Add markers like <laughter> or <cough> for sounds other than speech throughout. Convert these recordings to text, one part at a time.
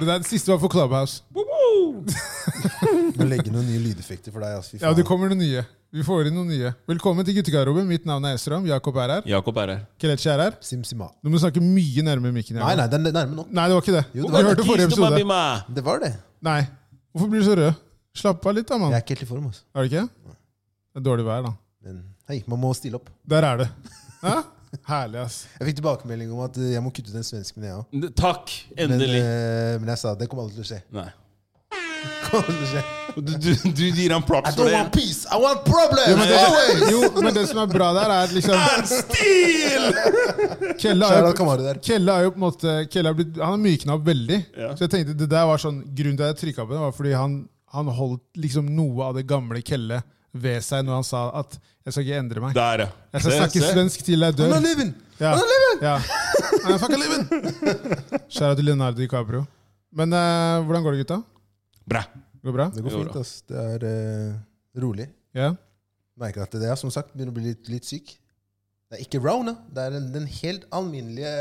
Det der siste var for Clubhouse. Må legge noen nye lydeffekter for deg. ass. Fy Ja, det faen. kommer noen nye. Vi får inn noen nye. Velkommen til guttegarderoben. Mitt navn er Esram. Jakob er her. Jakob er her. Kelechi er her. Simsima. Du må snakke mye nærmere mikken. Nei, her. nei, den er nærme nok. Nei, det var ikke det. Jo, det Du var det. hørte forrige episode. Kistobabima. Det var det. Nei. Hvorfor blir du så rød? Slapp av litt, da, Jeg mann. er ikke helt i form. ass. Er det ikke? Det er dårlig vær, da. Men hei, man må stille opp. Der er det. Hæ? Herlig, ass. Jeg fikk tilbakemelding om at eh, jeg må kutte ut den svensken, jeg òg. N- Takk, Men, endelig. eh, men jeg sa det kommer aldri til å skje. Nei. <laughs> Kommer aldri til å skje. Du, du, du gir ham I props for don't det. want peace, I want problems! Jo men, Always! det, jo, men det som er bra der, er at liksom Stil! Kelle Shout har out jo, Kamaru der. Kelle er jo på en måte Kelle har blitt, Han har mykna opp veldig. Ja. Så jeg tenkte det der var sånn Grunnen til at jeg trykka på det, var fordi han, han holdt liksom noe av det gamle Kelle ved seg når han sa at 'jeg skal ikke endre meg'. Der, ja. Jeg skal snakke svensk til jeg I'm dør. not living! Ja. I'm not living! Ja. I'm fucking living! <laughs> Skjæra til Leonardo DiCaprio. Men eh, hvordan går det, gutta? Bra. Går det bra? Det går Jo da. fint, ass. Det er eh, rolig. Ja? Merker at det er, som sagt, begynner å bli litt, litt syk. Det er ikke rona. Det er den, den helt alminnelige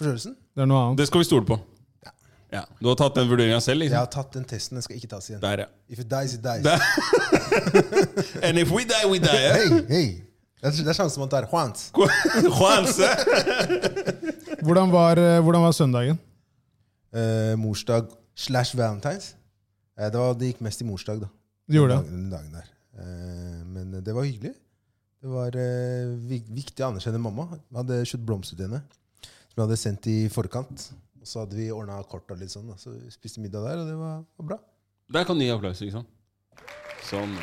forkjølelsen. Det er noe annet. Det skal vi stole på. Ja. Du har tatt den vurderinga selv, Jeg liksom? har tatt den testen. Den skal ikke tas igjen. Der, ja. If it dies, it dies. Der. And if we die, we die. <laughs> Hei, ja. hei. Det er, det er sjansen man tar. Chance. Sjanse! Hvordan var, eh, hvordan var søndagen? Eh, morsdag slash valentines. Eh, det, var, det gikk mest i morsdag, da. Du gjorde det? Den dagen- Den dagen der. Eh, men det var hyggelig. Det var eh, vik- viktig å anerkjenne mamma. Vi hadde kjøpt blomster til henne, som jeg hadde sendt i forkant. Og så hadde vi ordna kort og litt sånn. Da. Så vi spiste middag der, og det var, var bra. Der kan du gi applaus, ikke sant? Sånn.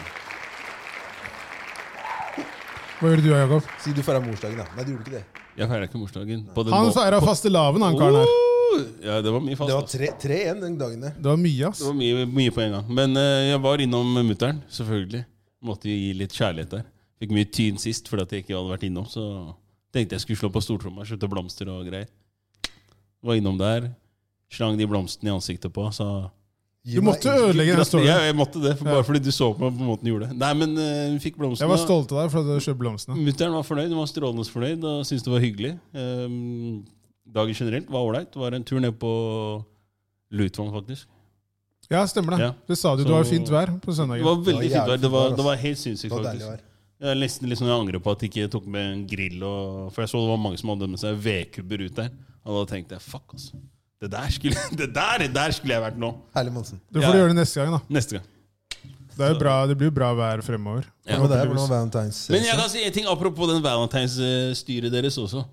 Hva gjorde du, Jakob? Sier du feira morsdagen, da? Nei, du gjorde ikke det. Jeg feira ikke morsdagen. På den Han måten. feira fastelavn, han karen her. Oh! Ja, det var mye fast. Det var ass. tre, tre igjen den dagen der. Det var mye, ass. Det var mye, mye på en gang. Men eh, jeg var innom mutter'n, selvfølgelig. Måtte jo gi litt kjærlighet der. Fikk mye tyn sist fordi at jeg ikke hadde vært innom. Så tenkte jeg skulle slå på stortromma, kjøpte blomster og greier. Var innom der. Slang de blomstene i ansiktet på. Så Du måtte ødelegge den jeg, storyen. jeg måtte det, for bare fordi du så på meg på måten du gjorde det. Nei, men eh, hun fikk blomstene. Jeg var stolt av deg for at du hadde kjøpt blomstene. Mutter'n var fornøyd, hun var strålende fornøyd og syntes det var hyggelig. Ehm, dagen generelt var ålreit. Var en tur ned på Lutvann, faktisk. Ja, stemmer det. Ja. Det sa du. Det Så- var fint vær på Det søndagen. var veldig Det var fint vær. jævlig Det fint vær, var, altså. det var helt sinnssykt, Det var deilig faktisk. vær. Jeg er nesten litt sånn jeg angrer på at jeg ikke tok med en grill. Og, for jeg så det var mange som hadde med seg vedkubber ut der. Og da tenkte jeg fuck, altså. Det der skulle, <laughs> det der, det der skulle jeg vært nå. Herlig, Monsen. Det får Ja. du gjøre det neste gang, da. Neste gang. Det, er jo bra, det blir jo bra vær fremover. Ja. Hvordan var det? Hvordan var valentines? Men jeg kan si en ting apropos den valentinsstyret deres også.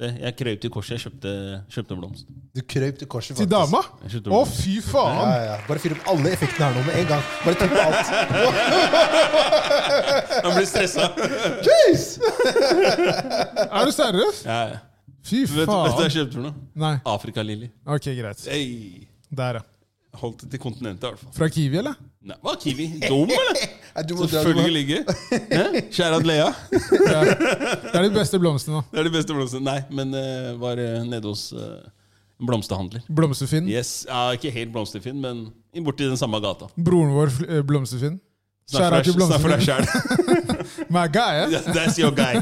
Se, jeg krøp til korset. Jeg kjøpte, kjøpte en blomst. Du krøp til korset, Til dama? Jeg slutter Å, med fy Ja, faen! ja, ja. Bare fyr opp alle effektene her nå med en gang. Bare trykk på alt. Jeg ble stressa. Jeez! Er du seriøs? Ja, ja. Fy Vet du vet du hva faen. jeg kjøpte for noe? Nei. Afrikaliljer. Ok, greit. Hey. Der, ja. Holdt det til kontinentet, i hvert fall. Fra Kiwi, eller? Nei, Var Kiwi dum, eller? Nei, du må dra, du må- Selvfølgelig ikke. Hæ? Kjære Adlea. Ja. Det er de beste blomstene. da. Det er de beste blomstene. Nei, men eh, var eh, nede hos eh, en blomsterhandler. Blomsterfinn. Yes, ja, Ikke helt blomsterfin, men i- borti den samme gata. Broren vår, fl- eh, Blomsterfinn. Snakk Kjære for til deg- snakk for deg <laughs> Blomsterfinn. sjæl. <laughs> My guy, eh? That's your guy.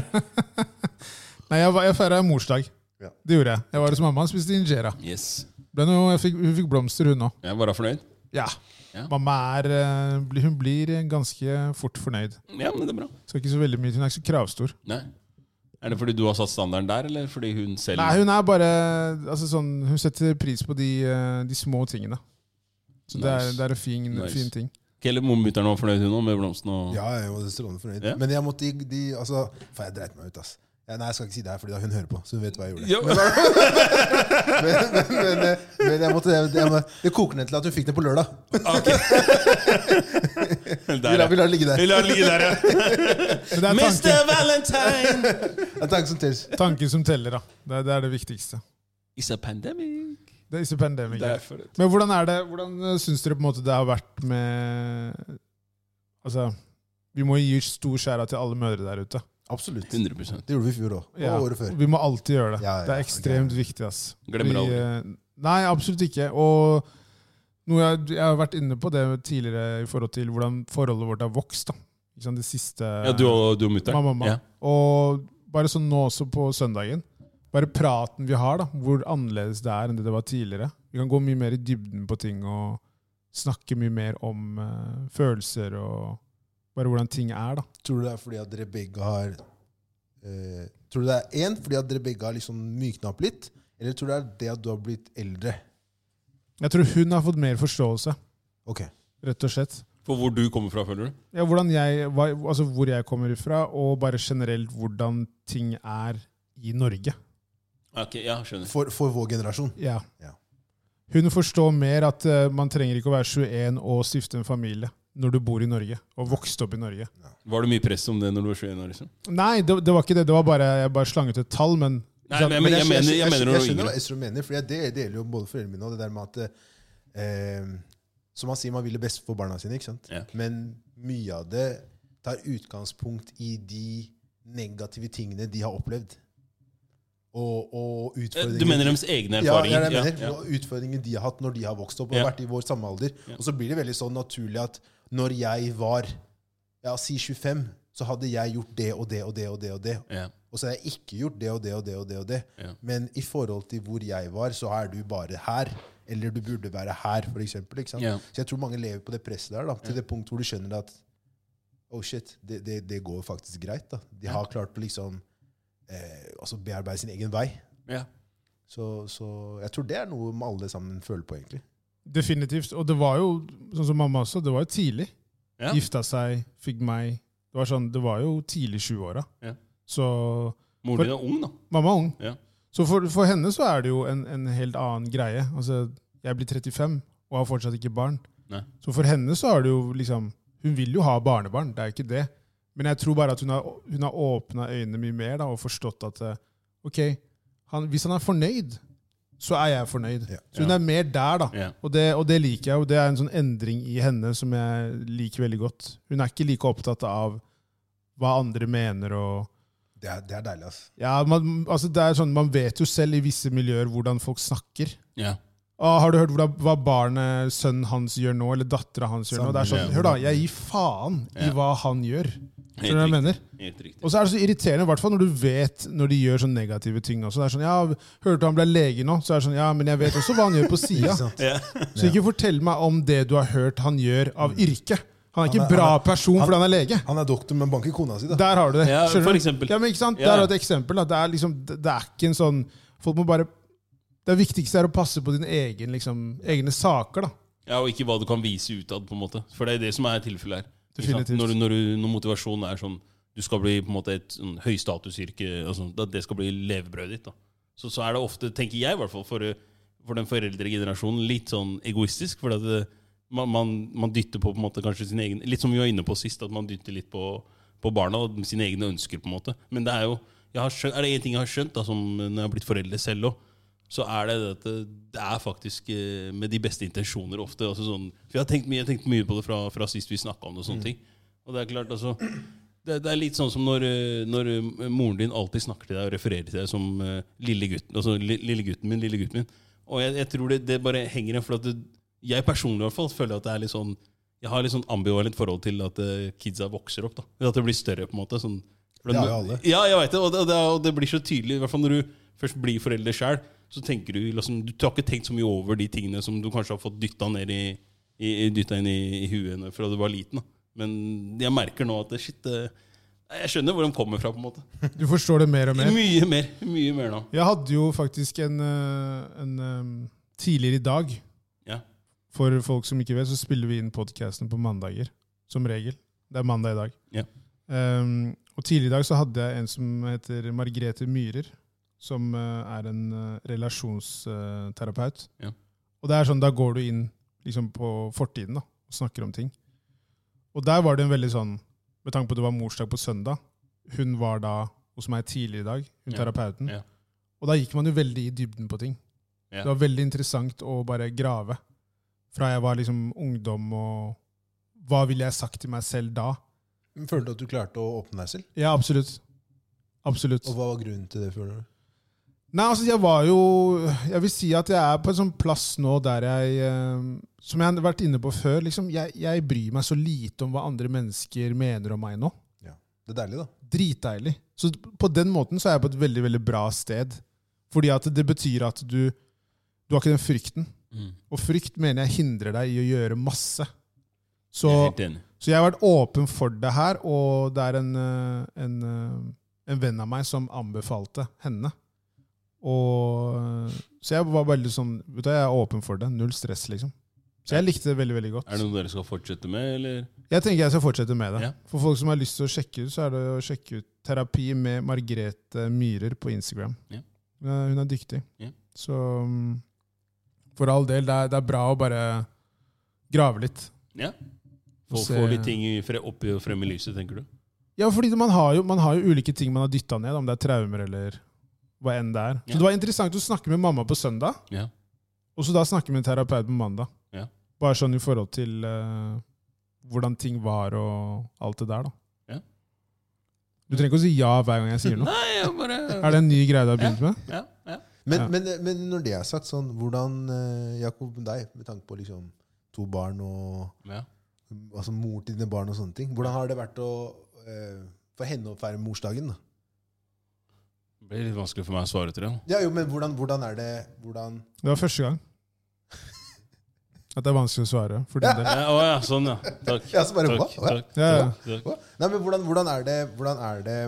Nei, jeg, var- jeg feira morsdag. Ja. Det gjorde jeg. Jeg var hos mamma og spiste injera. Yes. Ble noe, jeg fikk, hun fikk blomster, hun òg. Jeg var da fornøyd. Ja. Ja. Mamma er, eh, blir- hun blir ganske fort fornøyd. Ja, men det er bra. Skal ikke så veldig mye, Hun er ikke så kravstor. Nei. Er det fordi du har satt standarden der, eller fordi hun selv Nei, Hun er bare altså sånn, Hun setter pris på de, eh, de små tingene. Så det er, Nice. det er en fin, Nice. fin ting. Eller mormutter'n var fornøyd, hun òg, med blomstene og Ja, jeg var strålende fornøyd. Ja. Men jeg måtte i- de, altså, Faen, jeg dreit meg ut, ass. Ja, nei, jeg skal ikke si det her, fordi da hun hører på. Så hun vet hva jeg gjorde. Jo. Men, men, men, eh, men jeg måtte, jeg, jeg, må- det koker ned til at hun fikk den på lørdag. Ok. Vi <laughs> Der, lar, ja. vi lar det ligge der. Vi lar det ligge <laughs> der, ja. Men det er Mr. tanken, Valentine! Det er tanken som teller. tanken som teller, da. Det er det, er det viktigste. It's a pandemic. Det er ikke pandemic. Derfor. Men hvordan er det, hvordan eh, syns dere på en måte det har vært med Altså, vi må gi stor skjæra til alle mødre der ute. Absolutt. 100 Det gjorde vi i fjor òg. Ja, Og året før. Vi må alltid gjøre det. Ja, ja, det er ja, ekstremt ok. viktig. ass. Glemmer det Vi, eh, Nei, absolutt ikke. Og noe jeg, jeg har vært inne på det tidligere i forhold til hvordan forholdet vårt har vokst. da. Ikke sant, det siste Ja, du og, du og mutter'n? Mamma, mamma. Ja. Og bare sånn nå også på søndagen bare praten vi har, da, hvor annerledes det er enn det det var tidligere. Vi kan gå mye mer i dybden på ting og snakke mye mer om eh, følelser og bare hvordan ting er. da. Tror du det er fordi at dere begge har eh, Tror du det er én fordi at dere begge har liksom mykna opp litt? Eller tror du det er det at du har blitt eldre? Jeg tror hun har fått mer forståelse, Ok. rett og slett. For hvor du kommer fra, føler du? Ja, hvordan jeg, hva, altså hvor jeg kommer ifra, og bare generelt hvordan ting er i Norge. Ok, ja, skjønner. For, for vår generasjon. Ja. Ja. Hun forstår mer at eh, man trenger ikke å være 21 og stifte en familie når du bor i Norge og vokste opp i Norge. Var det mye press om det når du var 21 år? liksom? Nei, det, det var ikke det. Det var bare, jeg bare slang ut et tall, men Nei, men jeg, men, jeg, mener, jeg mener når jeg du var skjønner hva yngre. Esrom mener, for jeg del- deler jo både foreldrene mine og det der med at eh, Som han sier, man vil det beste for barna sine, ikke sant? Ja. Men mye av det tar utgangspunkt i de negative tingene de har opplevd. Og, og Eh, utfordringer Du mener deres egne Ja, det erfaringer? er det jeg mener. ja. Og Utfordringer de har hatt når de har vokst opp og Ja. vært i vår samme alder. Ja. Og så blir det veldig sånn naturlig at når jeg var ja, si 25, så hadde jeg gjort det og det og det og det. Og det. Ja. Ja. Og så har jeg ikke gjort det og det og det og det. og det. Ja. Men i forhold til hvor jeg var, så er du bare her. Eller du burde være her, for eksempel. Ikke sant? Ja. Så jeg tror mange lever på det presset der, da, til det punkt hvor du skjønner at oh shit, det, det, det går faktisk greit. da. De har klart å liksom eh, altså bearbeide sin egen vei. Ja. Så, så jeg tror det er noe med alle sammen føler på, egentlig. definitivt. Og det var jo, sånn som mamma også, det var jo tidlig. Ja. Gifta seg, fikk meg. Det var, sånn, det var jo tidlig 20-åra. Ja. Så Moren din er ung, da. mamma er ung. Ja. Så for, for henne så er det jo en, en helt annen greie. Altså, jeg blir 35 og har fortsatt ikke barn. Nei. Så for henne så er det jo liksom Hun vil jo ha barnebarn, det er ikke det. Men jeg tror bare at hun har, hun har åpna øynene mye mer da, og forstått at eh, ok, han, hvis han er fornøyd, så er jeg fornøyd. Ja. Så hun Ja. er mer der, da. Ja. Og det, og det liker jeg, og det er en sånn endring i henne som jeg liker veldig godt. Hun er ikke like opptatt av hva andre mener og Det er, det er deilig, ass. ja, man, altså det er sånn, man vet jo selv i visse miljøer hvordan folk snakker. Ja. Å, har du hørt hvordan, hva barnet, sønnen hans gjør nå, eller dattera hans gjør nå? Det er sånn, Samme. Hør, da, jeg gir faen i Ja. hva han gjør. Skjønner du hva jeg Helt mener? riktig. Helt riktig. Og så er det så irriterende, i hvert fall når du vet når de gjør sånne negative ting også. Det er sånn, ja, Hørte han ble lege nå? Så er det sånn, ja, men jeg vet også hva han <laughs> gjør på sida. Ikke sant? Ja. Så ikke fortell meg om det du har hørt han gjør av yrke. Han er ikke Han en er- bra han er- person han- fordi han er lege. Han er doktor, men banker kona si, da. <laughs> Der har du det. Ja, skjønner for du? eksempel. Ja, men ikke sant? Ja. Der er et eksempel. Da. Det, er liksom, det det er ikke en sånn Folk må bare Det viktigste er å passe på dine egen, liksom, egne saker, da. ja, Og ikke hva du kan vise utad, på en måte. For det er det som er tilfellet her. Ikke sant? Definitivt. Når, du- når, du- når motivasjonen er sånn du skal bli på en måte et sånn, høystatusyrke, altså, at det skal bli levebrødet ditt, da. Så, så er det ofte, tenker jeg i hvert fall, for, eh, for den foreldregenerasjonen litt sånn egoistisk. For at det, man, man, man dytter på på en måte kanskje sin egen Litt som vi var inne på sist, at man dytter litt på, på barna og sine egne ønsker. på en måte. Men det er jo jeg har skjønt, er det én ting jeg har skjønt da, som når jeg har blitt forelder selv òg, så er det det at det- det er faktisk eh, med de beste intensjoner ofte. Altså sånn, for Jeg har tenkt mye, jeg har tenkt mye på det fra, fra sist vi snakka om det. og sånne ting. Og det er klart, altså, det, det er litt sånn som når, eh, når eh, moren din alltid snakker til deg og refererer til deg som eh, lille gutten, altså, li, lille gutten min, lille gutten min. Og jeg, jeg tror det, det bare henger igjen, for at det, jeg personlig i hvert fall føler at det er litt sånn jeg har litt sånn ambivalent forhold til at eh, kidsa vokser opp. da. Eller At det blir større, på en måte. Sånn, Det er jo alle. Ja, jeg vet det, og det, og det, og det blir så tydelig. I hvert fall når du først blir forelder sjøl, så tenker du liksom, Du har ikke tenkt så mye over de tingene som du kanskje har fått dytta ned i, i, i- dyttet inn i, i huet når- fra du var liten. da. Men jeg merker nå at det, shit, det, jeg skjønner hvor de kommer fra, på en måte. Du forstår det mer og mer. Mye mer mye mer nå. Jeg hadde jo faktisk en, eh, en eh, Tidligere i dag, Ja. for folk som ikke vet, så spiller vi inn podkasten på mandager. Som regel. Det er mandag i dag. Ja. Um, og tidligere i dag så hadde jeg en som heter Margrethe Myhrer, som eh, er en eh, relasjonsterapeut. Ja. Og det er sånn, da går du inn liksom på fortiden da, og snakker om ting. Og der var det en veldig sånn, med tanke på at det var morsdag på søndag, hun var da hos meg tidligere i dag, hun Ja. terapeuten. Ja. Og da gikk man jo veldig i dybden på ting. Ja. Det var veldig interessant å bare grave. Fra jeg var liksom ungdom og Hva ville jeg sagt til meg selv da? Følte du at du klarte å åpne deg selv? Ja, absolutt. Absolutt. Og hva var grunnen til det? føler du? Nei, altså jeg var jo Jeg vil si at jeg er på en sånn plass nå der jeg eh, Som jeg har vært inne på før, liksom, jeg, jeg bryr meg så lite om hva andre mennesker mener om meg nå. Det er deilig, da. Dritdeilig. Så på den måten så er jeg på et veldig veldig bra sted. Fordi at det betyr at du, du har ikke den frykten. Mm. Og frykt mener jeg hindrer deg i å gjøre masse. Så, Jeg er helt enig. så jeg har vært åpen for det her, og det er en, eh, en, eh, en venn av meg som anbefalte henne. Og, eh, så jeg var veldig sånn vet du, Jeg er åpen for det. Null stress, liksom. Så jeg likte det veldig veldig godt. Er det noe dere skal fortsette med, eller? Jeg tenker jeg skal fortsette med det. Ja. For folk som har lyst til å sjekke ut, så er det å sjekke ut terapi med Margrethe Myhrer på Instagram. Ja. Hun er- Hun er dyktig. Ja. Så mm, for all del, det er, det er bra å bare grave litt. Ja. Og Folk se- får litt ting i fre- oppi og frem i lyset, tenker du? Ja, fordi man har jo, man har jo ulike ting man har dytta ned, om det er traumer eller hva enn det er. Ja. Så det var interessant å snakke med mamma på søndag, Ja. og så da snakke med en terapeut på mandag. Ja. Bare sånn i forhold til eh, hvordan ting var og alt det der, da. Ja. Du trenger ikke å si ja hver gang jeg sier noe. <laughs> Nei, jeg bare Er det en ny greie du har begynt med? Ja, ja. Men, Ja. men, men når det er sagt, sånn, hvordan eh, Jakob, deg, med tanke på liksom, to barn og ja. altså, mor til dine barn og sånne ting, hvordan har det vært å eh, for henne å feire morsdagen? da? Det blir litt vanskelig for meg å svare til det. da. Ja, jo, men hvordan, hvordan er det hvordan, Det var første <laughs> gang. At det er vanskelig å svare. For din del. Ja, å ja, sånn, ja. Takk. Ja, så bare, Takk, hva? Hva? takk, Ja, ja. takk, takk. Hva? Nei, men hvordan, hvordan, er det, hvordan er det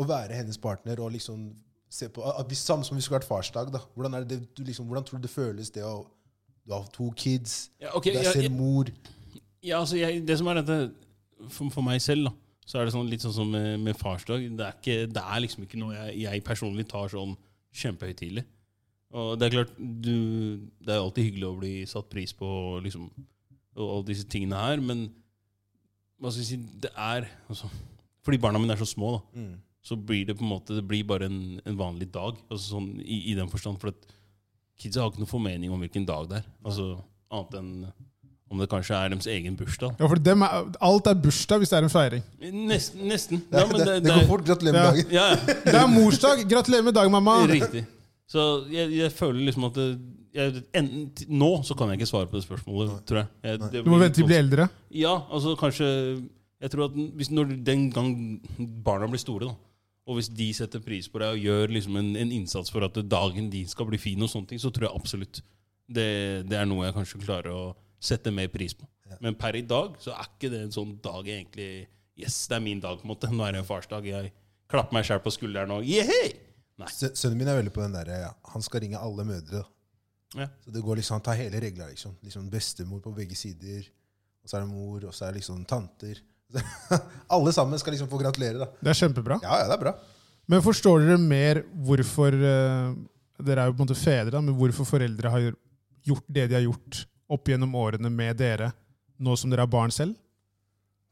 å være hennes partner og liksom se på at vi, Samme som vi skulle vært farsdag, da. Hvordan, er det, du liksom, hvordan tror du det føles det å Du har to kids, Ja, ok, du er ja, selv ja, mor ja, altså, jeg, det som er dette for, for meg selv, da, så er det sånn, litt sånn som med, med farsdag. Det er, ikke, det er liksom ikke noe jeg, jeg personlig tar sånn kjempehøytidelig. Og det er klart, du, det er jo alltid hyggelig å bli satt pris på og liksom, og alle disse tingene her, men hva skal jeg si, det er altså, Fordi barna mine er så små, da. Mm. så blir det på en måte Det blir bare en, en vanlig dag. Altså sånn, i, I den forstand. For at kidsa har ikke noen formening om hvilken dag det er. Altså Annet enn om det kanskje er deres egen bursdag. ja, for dem er, alt er bursdag hvis det er en feiring. Nesten. nesten. Det, Ja, men det, det, går fort. Gratulerer med Ja. dagen. <laughs> Ja, ja. Det er morsdag! Gratulerer med dagen, mamma! Riktig. Så jeg, jeg føler liksom at det, jeg, enten, til- Nå så kan jeg ikke svare på det spørsmålet, tror jeg. jeg det Du må blir vente til de litt blir eldre. vanskelig. Ja, altså kanskje Jeg tror at hvis når den gang barna blir store, da og hvis de setter pris på deg og gjør liksom en, en innsats for at dagen din skal bli fin, og sånne ting, så tror jeg absolutt det, det er noe jeg kanskje klarer å sette mer pris på. Men per i dag så er ikke det en sånn dag jeg egentlig Yes, det er min dag, på en måte. Nå er det en farsdag. Jeg klapper meg sjæl på skulderen og yeah! Nei. Sø- Sønnen min er veldig på den derre ja, Han skal ringe alle mødre. da. Ja. Så det går liksom, Han tar hele regla. Liksom. liksom bestemor på begge sider, og så er det mor, og så er det liksom tanter. <laughs> Så- alle sammen skal liksom få gratulere. da. Det er kjempebra. Ja, ja, det er bra. Men forstår dere mer hvorfor eh, Dere er jo på en måte fedre, da, men hvorfor foreldre har gjort det de har gjort opp gjennom årene med dere, nå som dere er barn selv?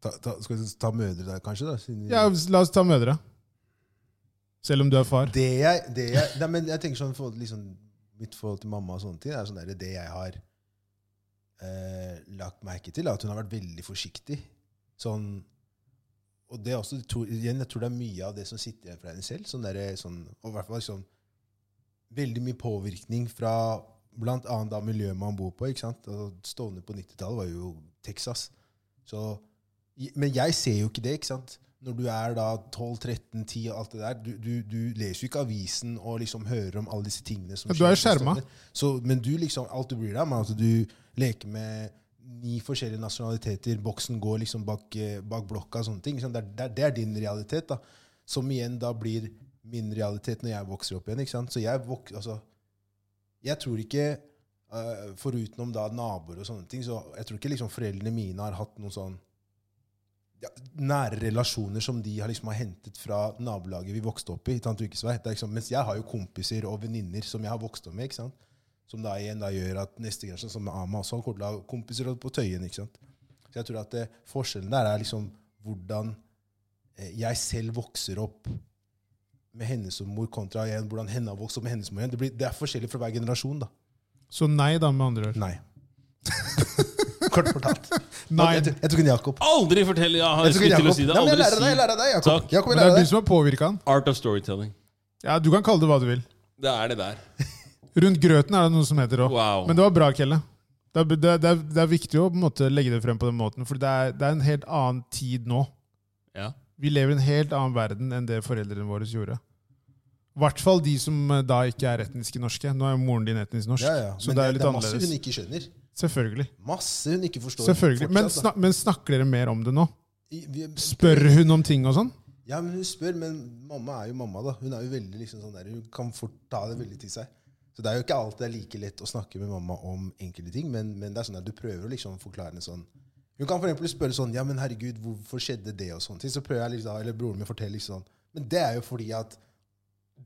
Ta, ta, skal vi ta mødre der, kanskje? da? siden- Ja, La oss ta mødre. Selv om du er far. Det jeg, det jeg, nei, men jeg tenker sånn, forhold til liksom, Mitt forhold til mamma og sånne ting er sånn der, det jeg har eh, lagt merke til, er at hun har vært veldig forsiktig. Sånn, og det er også, tror- igjen, jeg tror det er mye av det som sitter igjen fra henne selv. Sånn der, sånn, og i hvert fall sånn, veldig mye påvirkning fra blant annet da miljøet man bor på. ikke sant? Og Stovner på 90-tallet var jo Texas. Så, i- men jeg ser jo ikke det, ikke sant? Når du er da 12-13-10 og alt det der, du, du, du leser jo ikke avisen og liksom hører om alle disse tingene som Ja, du er jo skjer på skjerma. Stovner. Så, men du liksom, alt du bryr deg om, er at du leker med ni forskjellige nasjonaliteter, boksen går liksom bak, eh, bak blokka og sånne ting. ikke sant? Det er, det er- det er din realitet, da. Som igjen da blir min realitet når jeg vokser opp igjen. ikke sant? Så jeg vok altså, jeg tror ikke, eh, forutenom da naboer og sånne ting, så jeg tror ikke liksom foreldrene mine har hatt noen sånn ja, nære relasjoner som de har liksom har hentet fra nabolaget vi vokste opp i. Tante Ukesvei. Det er liksom, mens jeg har jo kompiser og venninner som jeg har vokst opp med, ikke sant? som da igjen da gjør at neste generasjon, som med Ama også, han kommer til å ha kompiser på Tøyen. ikke sant? Så jeg tror at eh, forskjellen der er liksom hvordan eh, jeg selv vokser opp med henne som mor, kontra igjen, hvordan henne har vokst opp med henne som mor. igjen. Det, blir, det er forskjellig fra hver generasjon, da. Så nei, da, med andre ord. Nei. <laughs> Kort fortalt. Nei. Jeg, tror- jeg tok en Jakob. Aldri fortell! Jeg har Jeg tok en skulle til å Jakob. si det. Nei, men jeg lærer Aldri deg, jeg si lærer deg, Jakob. Takk. Jakob, Men jeg det lærer er deg. du som har påvirka han. Art of storytelling. Ja, du kan kalle det hva du vil. Det er det <laughs> der. Rundt grøten er det noe som heter òg. Wow. Men det var bra, Kelle. Det er, det, er, det er viktig å på en måte legge det frem på den måten, for det er, det er en helt annen tid nå. Ja. Vi lever i en helt annen verden enn det foreldrene våre gjorde. I hvert fall de som eh, da ikke er etniske norske. Nå er jo moren din etnisk norsk, Ja, ja. så det er litt masse hun annerledes. ikke skjønner. Selvfølgelig. Masse hun ikke forstår. Selvfølgelig. Men, fortsatt, altså. da. snak, men snakker dere mer om det nå? I- vi- Spør hun om ting og sånn? Ja, men hun spør, men mamma er jo mamma, da. Hun er jo veldig liksom sånn der, hun kan fort ta det veldig til seg. Så det er jo ikke alltid det er like lett å snakke med mamma om enkelte ting, men, men det er sånn at du prøver å liksom forklare henne sånn. Hun kan for eksempel spørre sånn, ja, men herregud, hvorfor skjedde det, og sånne ting. Så prøver jeg liksom, da, eller broren min forteller liksom sånn, men det er jo fordi at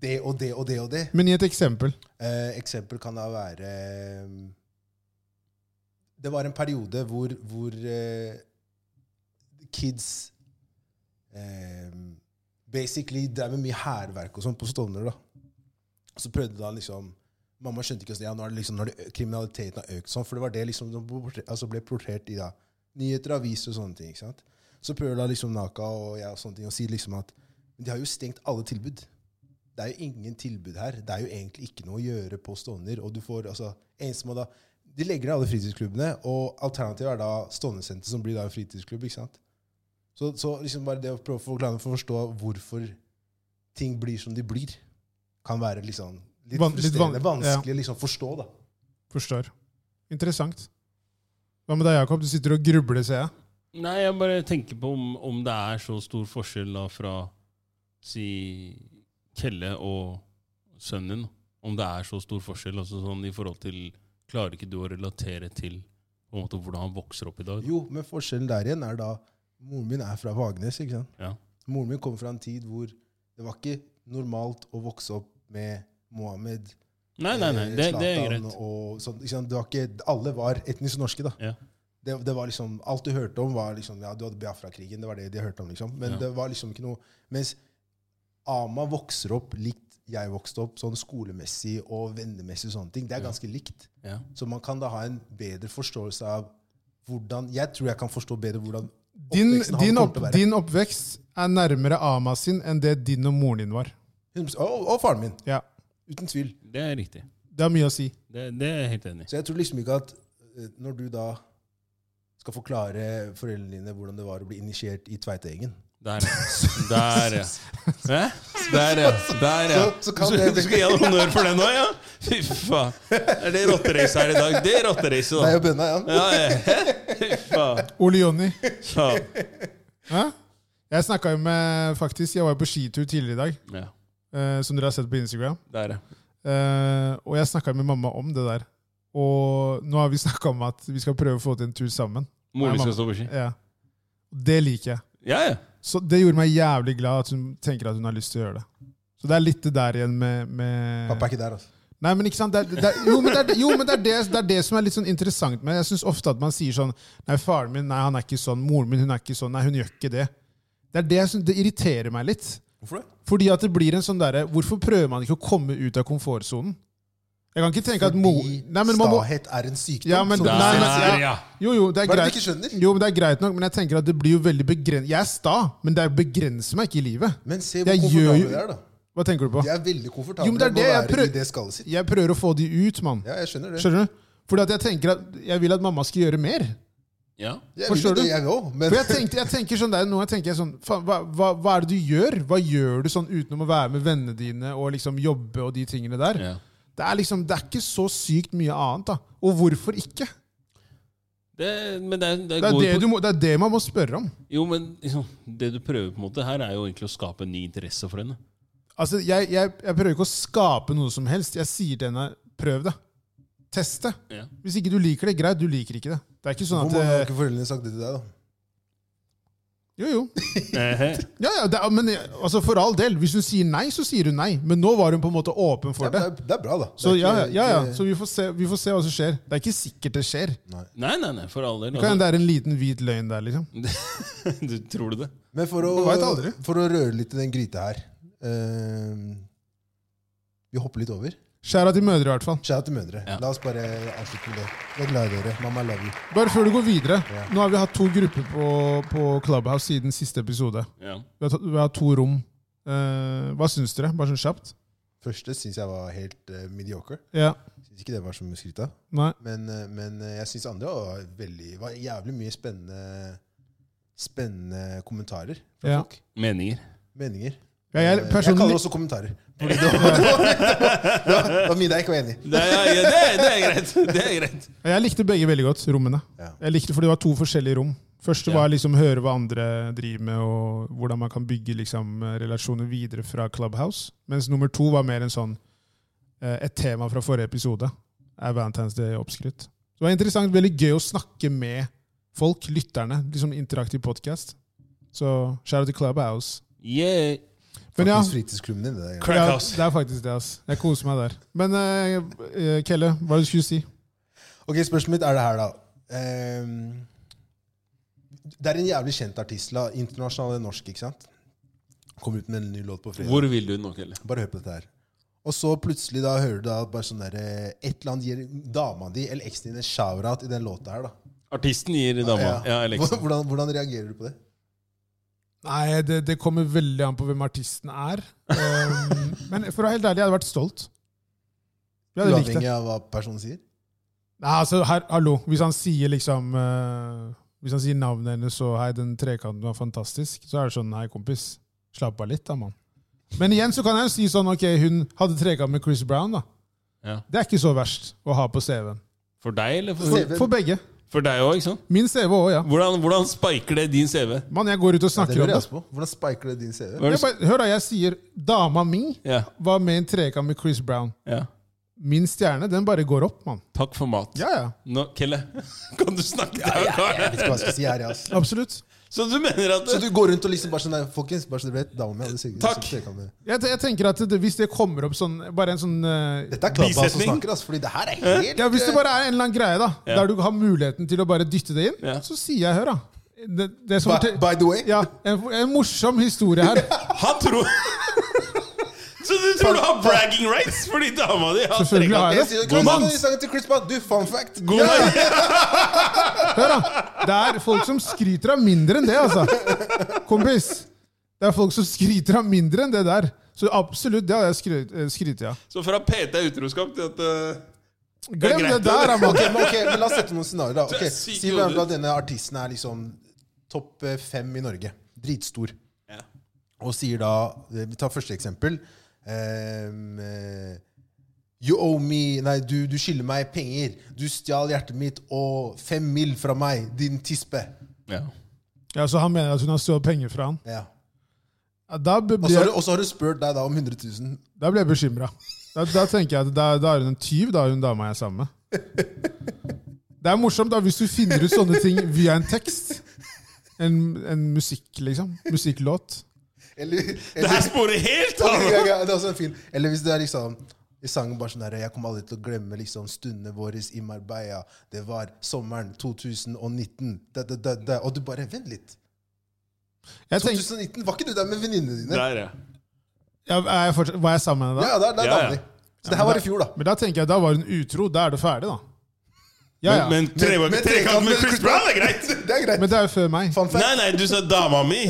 det og det og det og det. Men gi et eksempel. Eh, eksempel kan da være eh, Det var en periode hvor, hvor eh, kids eh, basically drev med mye hærverk og sånn på Stovner. da. Så prøvde da liksom Mamma skjønte ikke at ja, nå er det liksom, nå er det, kriminaliteten har økt sånn, for det var det liksom som portre- altså ble portrert i da. nyheter, aviser og sånne ting. ikke sant? Så prøver da liksom Naka og jeg og sånne ting å si liksom at de har jo stengt alle tilbud det er jo ingen tilbud her. Det er jo egentlig ikke noe å gjøre på Stovner. Og du får, altså, en som må da, de legger ned alle fritidsklubbene, og alternativet er da Stovner-senter, som blir da en fritidsklubb. ikke sant? Så, så liksom bare det å prøve å forklare for å forstå hvorfor ting blir som de blir, kan være liksom Van- litt litt, van- frustrerende, vanskelig å liksom forstå. da. Forstår. Interessant. Hva med deg, Jakob? Du sitter og grubler, ser jeg. Nei, jeg bare tenker på om, om det er så stor forskjell da fra si Kelle og sønnen din. Om det er så stor forskjell altså sånn i forhold til Klarer ikke du å relatere til på en måte hvordan han vokser opp i dag? Jo, men forskjellen der igjen er da Moren min er fra Vagnes. ikke sant? Ja. Moren min kom fra en tid hvor det var ikke normalt å vokse opp med Mohammed Nei, nei, nei, det, det er Eh, Zlatan greit. Og sånn, ikke sant? Det var ikke, alle var etnisk norske, da. Ja. Det, det var liksom, alt du hørte om, var liksom, ja, du hadde Biafra-krigen. Det var det de hørte om, liksom. Men Ja. det var liksom ikke noe Mens Ama vokser opp likt jeg vokste opp, sånn skolemessig og vennemessig og sånne ting. Det er Ja. ganske likt. Ja. Så man kan da ha en bedre forståelse av hvordan Jeg tror jeg kan forstå bedre hvordan Din, Oppveksten han din, kommer opp, til å være. din oppvekst er nærmere Ama sin enn det din og moren din var. Og, og faren min. Ja, Uten tvil. Det er riktig. Det har mye å si. Det, det er jeg helt enig i. Så jeg tror liksom ikke at eh, når du da skal forklare foreldrene dine hvordan det var å bli initiert i Tveiteengen Der, <laughs> der, ja. Hæ? Der, ja. Der, ja. Så- så kan Så det- du skal gi han honnør for den òg, ja? Fy faen. Er det rotterace her i dag? Det er rotterace, Det er da. jo bønna, ja. Ja, ja. <laughs> Fy faen. Ole <laughs> Jonny. Ja. Hæ? Jeg snakka jo med faktisk, Jeg var jo på skitur tidligere i dag, Ja, eh, som dere har sett på Instagram. der, ja. Eh, og jeg snakka med mamma om det der. Og nå har vi <laughs> snakka om at vi skal prøve å få til en tur sammen. Moren Nei, skal mamma. stå på ski. Ja. Det liker jeg. Ja, ja. Så det gjorde meg jævlig glad at hun tenker at hun har lyst til å gjøre det. Så det er litt det der igjen med, med Pappa er ikke der, altså. Nei, men ikke sant? Det, er- det, er- jo, men det, er- jo, men det er det, det er det som er litt sånn interessant. Men jeg syns ofte at man sier sånn Nei, faren min nei, han er ikke sånn. Moren min hun er ikke sånn. Nei, hun gjør ikke det. Det er det jeg synes, det irriterer meg litt. Hvorfor det? Fordi at det blir en sånn derre Hvorfor prøver man ikke å komme ut av komfortsonen? Jeg kan ikke tenke at mo... Fordi Nei, men man må, stahet er en sykdom. Ja, men- som Nei, du sier. men- Der, ja. jo, jo, det er Hva er det greit. du ikke skjønner? Jo, men det er greit nok, men jeg tenker at det blir jo veldig begrenset. Jeg er sta, men det begrenser meg ikke i livet. men se hvor Jeg gjør jo- komfortable de er, da. Hva tenker du på? De er veldig komfortable Jo, men det er det jeg med å være prøv- i det skallet sitt. Jeg prøver å få de ut, mann. Ja, jeg skjønner det. Skjønner du? Fordi at jeg tenker at jeg vil at mamma skal gjøre mer. ja. Jeg Forstår vil jo du? det, jeg òg, men For jeg, tenkte, jeg tenker sånn der, Noen ganger tenker jeg sånn faen, hva, hva, hva er det du gjør? Hva gjør du sånn utenom å være med vennene dine og liksom jobbe og de tingene der? ja. Det er liksom, det er ikke så sykt mye annet. da Og hvorfor ikke? Det, men det, er- det, Det er går det, på, du må, det er det man må spørre om. Jo, men liksom, det du prøver på en måte her, er jo egentlig å skape en ny interesse for henne. Altså, jeg, jeg, jeg prøver ikke å skape noe som helst. Jeg sier til henne prøv det. Test det. Ja. Hvis ikke du liker det, greit, du liker ikke det. Det er ikke sånn hvor at mange har eh, ikke foreldrene sagt det til deg, da? Jo, jo. Eh, Ja, ja, det, er- men eh, altså, for all del. Hvis hun sier nei, så sier hun nei. Men nå var hun på en måte åpen Ja, for men det, det. er, det er bra, da. Det er Så ja, ja, ikke- ja, ja. ikke- Så vi får, se, vi får se hva som skjer. Det er ikke sikkert det skjer. Nei. Nei, nei, nei, for all del. Kan hende det er en liten hvit løgn der, liksom. Altså, <laughs> du tror du det? Men for å, Man vet aldri. for å røre litt i den gryta her eh, Vi hopper litt over. Skjæra til mødre, i hvert fall. Shout til mødre. Ja. La oss bare avslutte med det. Jeg er glad i dere. Mamma love you. Bare før du går videre. Ja. Nå har vi hatt to grupper på, på Clubhouse siden siste episode. Ja. Vi har, tatt, vi har hatt to rom. Eh, hva syns dere? Bare sånn kjapt. Første syns jeg var helt uh, mediocre. Ja. Syns ikke det var så mye å skryte av. Nei. Men, eh, men eh, jeg syns andre var, veldig, var jævlig mye spennende, spennende kommentarer fra Ja. folk. Meninger. Meninger. Eh, Ja, jeg, Jeg kaller personlig, også kommentarer. Fordi det, var, <laughs> det, var, det, var, det var mye der jeg ikke var enig i. Det er, ja, det, er- det er greit. Det er greit. jeg likte begge veldig godt, rommene. Ja. Jeg likte For det var to forskjellige rom. Første Ja. var liksom høre hva andre driver med, og hvordan man kan bygge liksom, relasjoner videre fra Clubhouse. Mens nummer to var mer en sånn eh, Et tema fra forrige episode er Valentine's Day oppskrytt. Så Det var interessant, veldig gøy å snakke med folk, lytterne. Liksom interaktiv podkast. Så shout out til Clubhouse. Yeah. Men ja, Faktisk fritidsklubben din. Det der. Crack ja, house. det er faktisk det. ass. Jeg koser meg der. Men eh, eh, Kelle, hva er det du skulle si? Ok, Spørsmålet mitt er det her, da. Ehm, det er en jævlig kjent artist. La, internasjonal eller norsk, ikke sant? Kom ut med en ny låt på fredag. Hvor vil du nå, Kelle? Bare hør på dette her. Og så plutselig da hører du da at bare sånn der, eh, et eller annet gir dama di eller eksen din en shout-out i den låta her. da. Artisten gir dama. Ja, Alex. hvordan, hvordan reagerer du på det? Nei, det, det kommer veldig an på hvem artisten er. Um, men for å være helt ærlig, jeg hadde vært stolt. Jeg hadde likt det. Uavhengig av hva personen sier? Nei, altså, her, hallo. Hvis han sier liksom eh, Hvis han sier navnet hennes og 'hei, den trekanten var fantastisk', så er det sånn 'hei, kompis, slapp av litt, da, mann'. Men igjen så kan jeg jo si sånn 'ok, hun hadde trekant med Chris Brown', da. Ja. Det er ikke så verst å ha på CV-en. For deg, eller for, CV. For begge. for deg òg, ikke sant? Min CV òg, ja. Hvordan, hvordan spiker det din CV? Mann, jeg går ut og Ja, det snakker om lurer jeg altså. det. også på. Hvordan spiker det din CV? Hva er Jeg det? bare, hør, da. Jeg sier 'dama mi Ja, var med i en trekant med Chris Brown'. ja. Min stjerne, den bare går opp, mann. Takk for mat. Ja, ja. Nå, Kelle, <laughs> kan du snakke til Jeg vet ikke hva jeg skal si her, jeg, ass. Absolutt. <laughs> Så du mener at Så du går rundt og liksom bare sånn der, folkens, bare så dere vet, dama mi hadde sikkert Takk. sikkert trekant med- Jeg, te- jeg tenker at det, Hvis det kommer opp sånn Bare en sånn eh, Dette er klabba som Bisetning? snakker, ass, fordi det her er helt Ja, Hvis det bare er en eller annen greie da Ja. der du har muligheten til å bare dytte det inn, Ja. så sier jeg hør, da. Det, det som by, fortel- by the way, ja, en, en morsom historie her. Han tror <laughs> Så du tror du har bragging rights fordi dama di har Selvfølgelig har trekant? jeg jeg det. sier God Chris mann. Brown, jeg snakker til Chris Brown. Du, fun fact. God dag. Hør, da. Det er folk som skryter av mindre enn det, altså. Kompis. Det er folk som skryter av mindre enn det der. Så absolutt, det hadde jeg skryt, eh, skrytet av. Så fra PT er utroskap til at eh, er Glem det greit, der, da, mann. Ok, men, ok, men la oss sette noen scenarioer, da. Det Ok, er sykt si for eksempel hodet. at denne artisten er liksom topp eh, fem i Norge. Dritstor. Ja. Og sier da eh, Vi tar første eksempel. Ehm, eh, you owe me Nei, du, du skylder meg penger. Du stjal hjertet mitt og fem mil fra meg, din tispe. ja. Ja, Så han mener at hun har stjålet penger fra han. Ja. Ja, Da b- Og så blir har jeg, du- og så har du spurt deg da om 100 000. da blir jeg bekymra. Da, da tenker jeg at da, da er hun en tyv, da er hun dama jeg er sammen med. Det er morsomt da hvis du finner ut sånne ting via en tekst. En, en musikk, liksom. Musikklåt. Eller, Det her eller, sporer helt Ja, av! ja, det er også en film. Eller hvis det er liksom i sangen bare sånn der, Jeg kommer aldri til å glemme liksom, stundene våre i Marbella. Det var sommeren 2019. Da, da, da, da. Og du bare Vent litt. Jeg tenker, 2019, var ikke du der med venninnene dine? Der, ja. ja, er jeg fortsatt, var jeg sammen med henne da? Ja, ja, der, der Ja, ja. damer de. Så det her var i fjor, da. <laughs> Men da tenker jeg, da var hun utro. Da er det ferdig, da. Ja, ja. Men, Men, men tre- Men- men trekant med Chris Brown er greit! Det er greit. det er jo før meg. Fun fact. Nei, nei, du sa dama mi.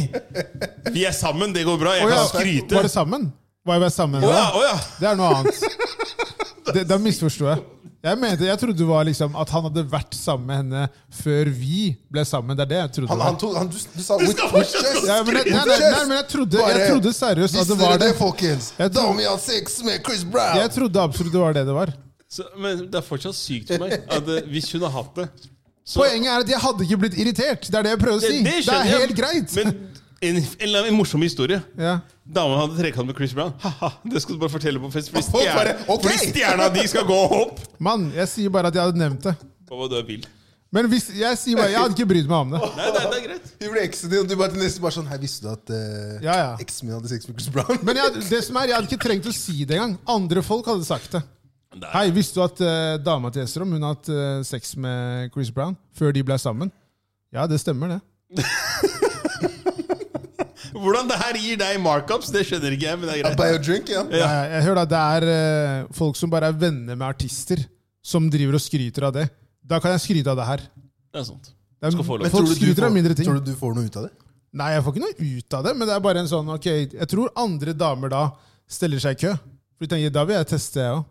Vi er sammen, det går bra. Jeg Å, ja, kan skryte. Var det sammen? Var jeg bare sammen Å med ja, henne? å ja. da? Det er noe annet. Det, da misforsto jeg. Jeg, mente, jeg trodde det var liksom at han hadde vært sammen med henne før vi ble sammen. Det er det jeg trodde. Han, det var. han tok, han, du, du sa with, skal with fortsette å chest. Ja, men jeg, nei, nei, nei, men jeg trodde, jeg Bare- trodde seriøst at det Visste var dere det. det, folkens? Jeg tror- Dami har sex med Chris Brown! Jeg trodde absolutt det var det det var. Så, men det er fortsatt sykt for meg at eh, hvis hun har hatt det så, Poenget er at jeg hadde ikke blitt irritert. Det er det jeg prøver å si. Det, er skjønner jeg, helt greit. Men en, en, eller annen morsom historie. ja. Dama hadde trekant med Chris Brown. Haha, det skal du bare fortelle på fest. <laughs> Fordi folk bare, stjerna, ok. fordi stjerna di skal gå opp! Mann, jeg sier bare at jeg hadde nevnt det. Hva var det du vil? Men hvis, jeg sier bare, jeg hadde ikke brydd meg om det. Nei, nei, det er greit. Vi ble eksen din, og du bare til nesten bare sånn Hei, visste du at eh, Ja, ja. eksen min hadde sex med Chris Brown? <laughs> Men jeg, det som er, jeg hadde ikke trengt å si det engang. Andre folk hadde sagt det. Det er- Hei, visste du at eh, dama til Estrom hun har hatt eh, sex med Chris Brown før de ble sammen? Ja, det stemmer, det. Hvordan det her gir deg markups, det skjønner ikke jeg, men det er I greit. buy a drink, ja. Ja. Jeg, jeg hører da, Det er eh, folk som bare er venner med artister, som driver og skryter av det. Da kan jeg skryte av det her. Det er sant. Det er, Skal få lov. folk skryter av mindre ting. tror du du får noe ut av det? Nei, jeg får ikke noe ut av det, men det er bare en sånn ok, Jeg tror andre damer da stiller seg i kø. For de tenker da vil jeg teste, jeg òg.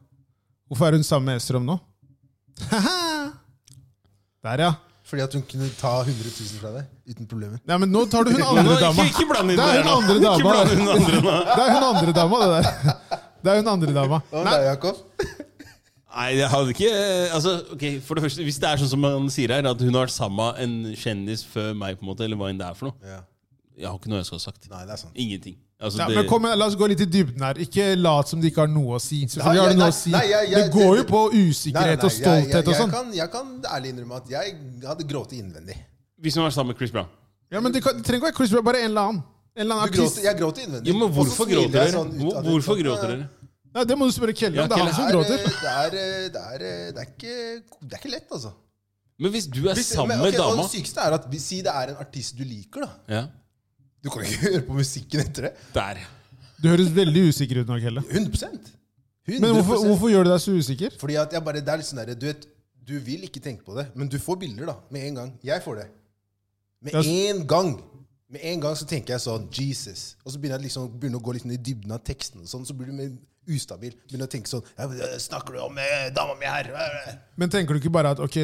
Hvorfor er hun sammen med Estrom nå? Haha! <laughs> Der, ja. Fordi at hun kunne ta 100 000 fra deg uten problemer. Nei, men nå tar du <laughs> hun andre Nå, dama. ikke, ikke bland inn Det er det hun andre her nå. Ikke dama. bland inn den andre nå. Det er hun andre dama, det der. <laughs> Det er hun andre dama. Og Nei, da, Jakob, <laughs> Nei, jeg hadde ikke altså, ok, for det første, Hvis det er sånn som han sier her, at hun har vært sammen med en kjendis før meg, på en måte, eller hva enn det er for noe Ja. Jeg har ikke noe jeg skal ha sagt. Nei, det er sant. Ingenting. Altså, Nei, det, men kom, igjen, La oss gå litt i dybden her. Ikke lat som de ikke har noe å si. Nei, Selvfølgelig har de nei, noe å si. nei, jeg- Det jeg- går jo på Nei, nei, usikkerhet og nei, jeg- jeg- stolthet og sånn. Jeg, kan- jeg kan ærlig innrømme at jeg hadde grått innvendig. Hvis hun har vært sammen med Chris Brown Ja, men Det, kan, det trenger ikke være Chris Brown, bare en eller annen. En eller annen Du artist. gråter, jeg gråter innvendig. Jo, men Og så Hvorfor smiler gråter jeg dere? sånn ut Hvor, av det. hvorfor Ja, ja. gråter dere? Nei, det må du spørre Kelle Ja, om. Det er Kelle han som Det er, gråter. eh, det er, eh, det er, eh, det er ikke, det er ikke lett, altså. Men hvis du er Hvis- sammen men, med ok, og dama Det sykeste er at vi- si det er en artist du liker, da. ja. Du kan ikke <laughs> høre på musikken etter det. Der. Du høres veldig usikker ut nå, Kelle. 100 100 Men hvorfor, hvorfor gjør du deg så usikker? Fordi at jeg bare, det er litt sånn der, du vet, du vil ikke tenke på det, men du får bilder da, med en gang. Jeg får det. Med Det er en gang. Med en gang så tenker jeg sånn, Jesus. Og så begynner jeg liksom, begynner å gå litt ned i dybden av teksten, og sånn, så blir du mer ustabil. Begynner å tenke sånn, «Ja, snakker du om eh, dama mi her? Men tenker du ikke bare at ok,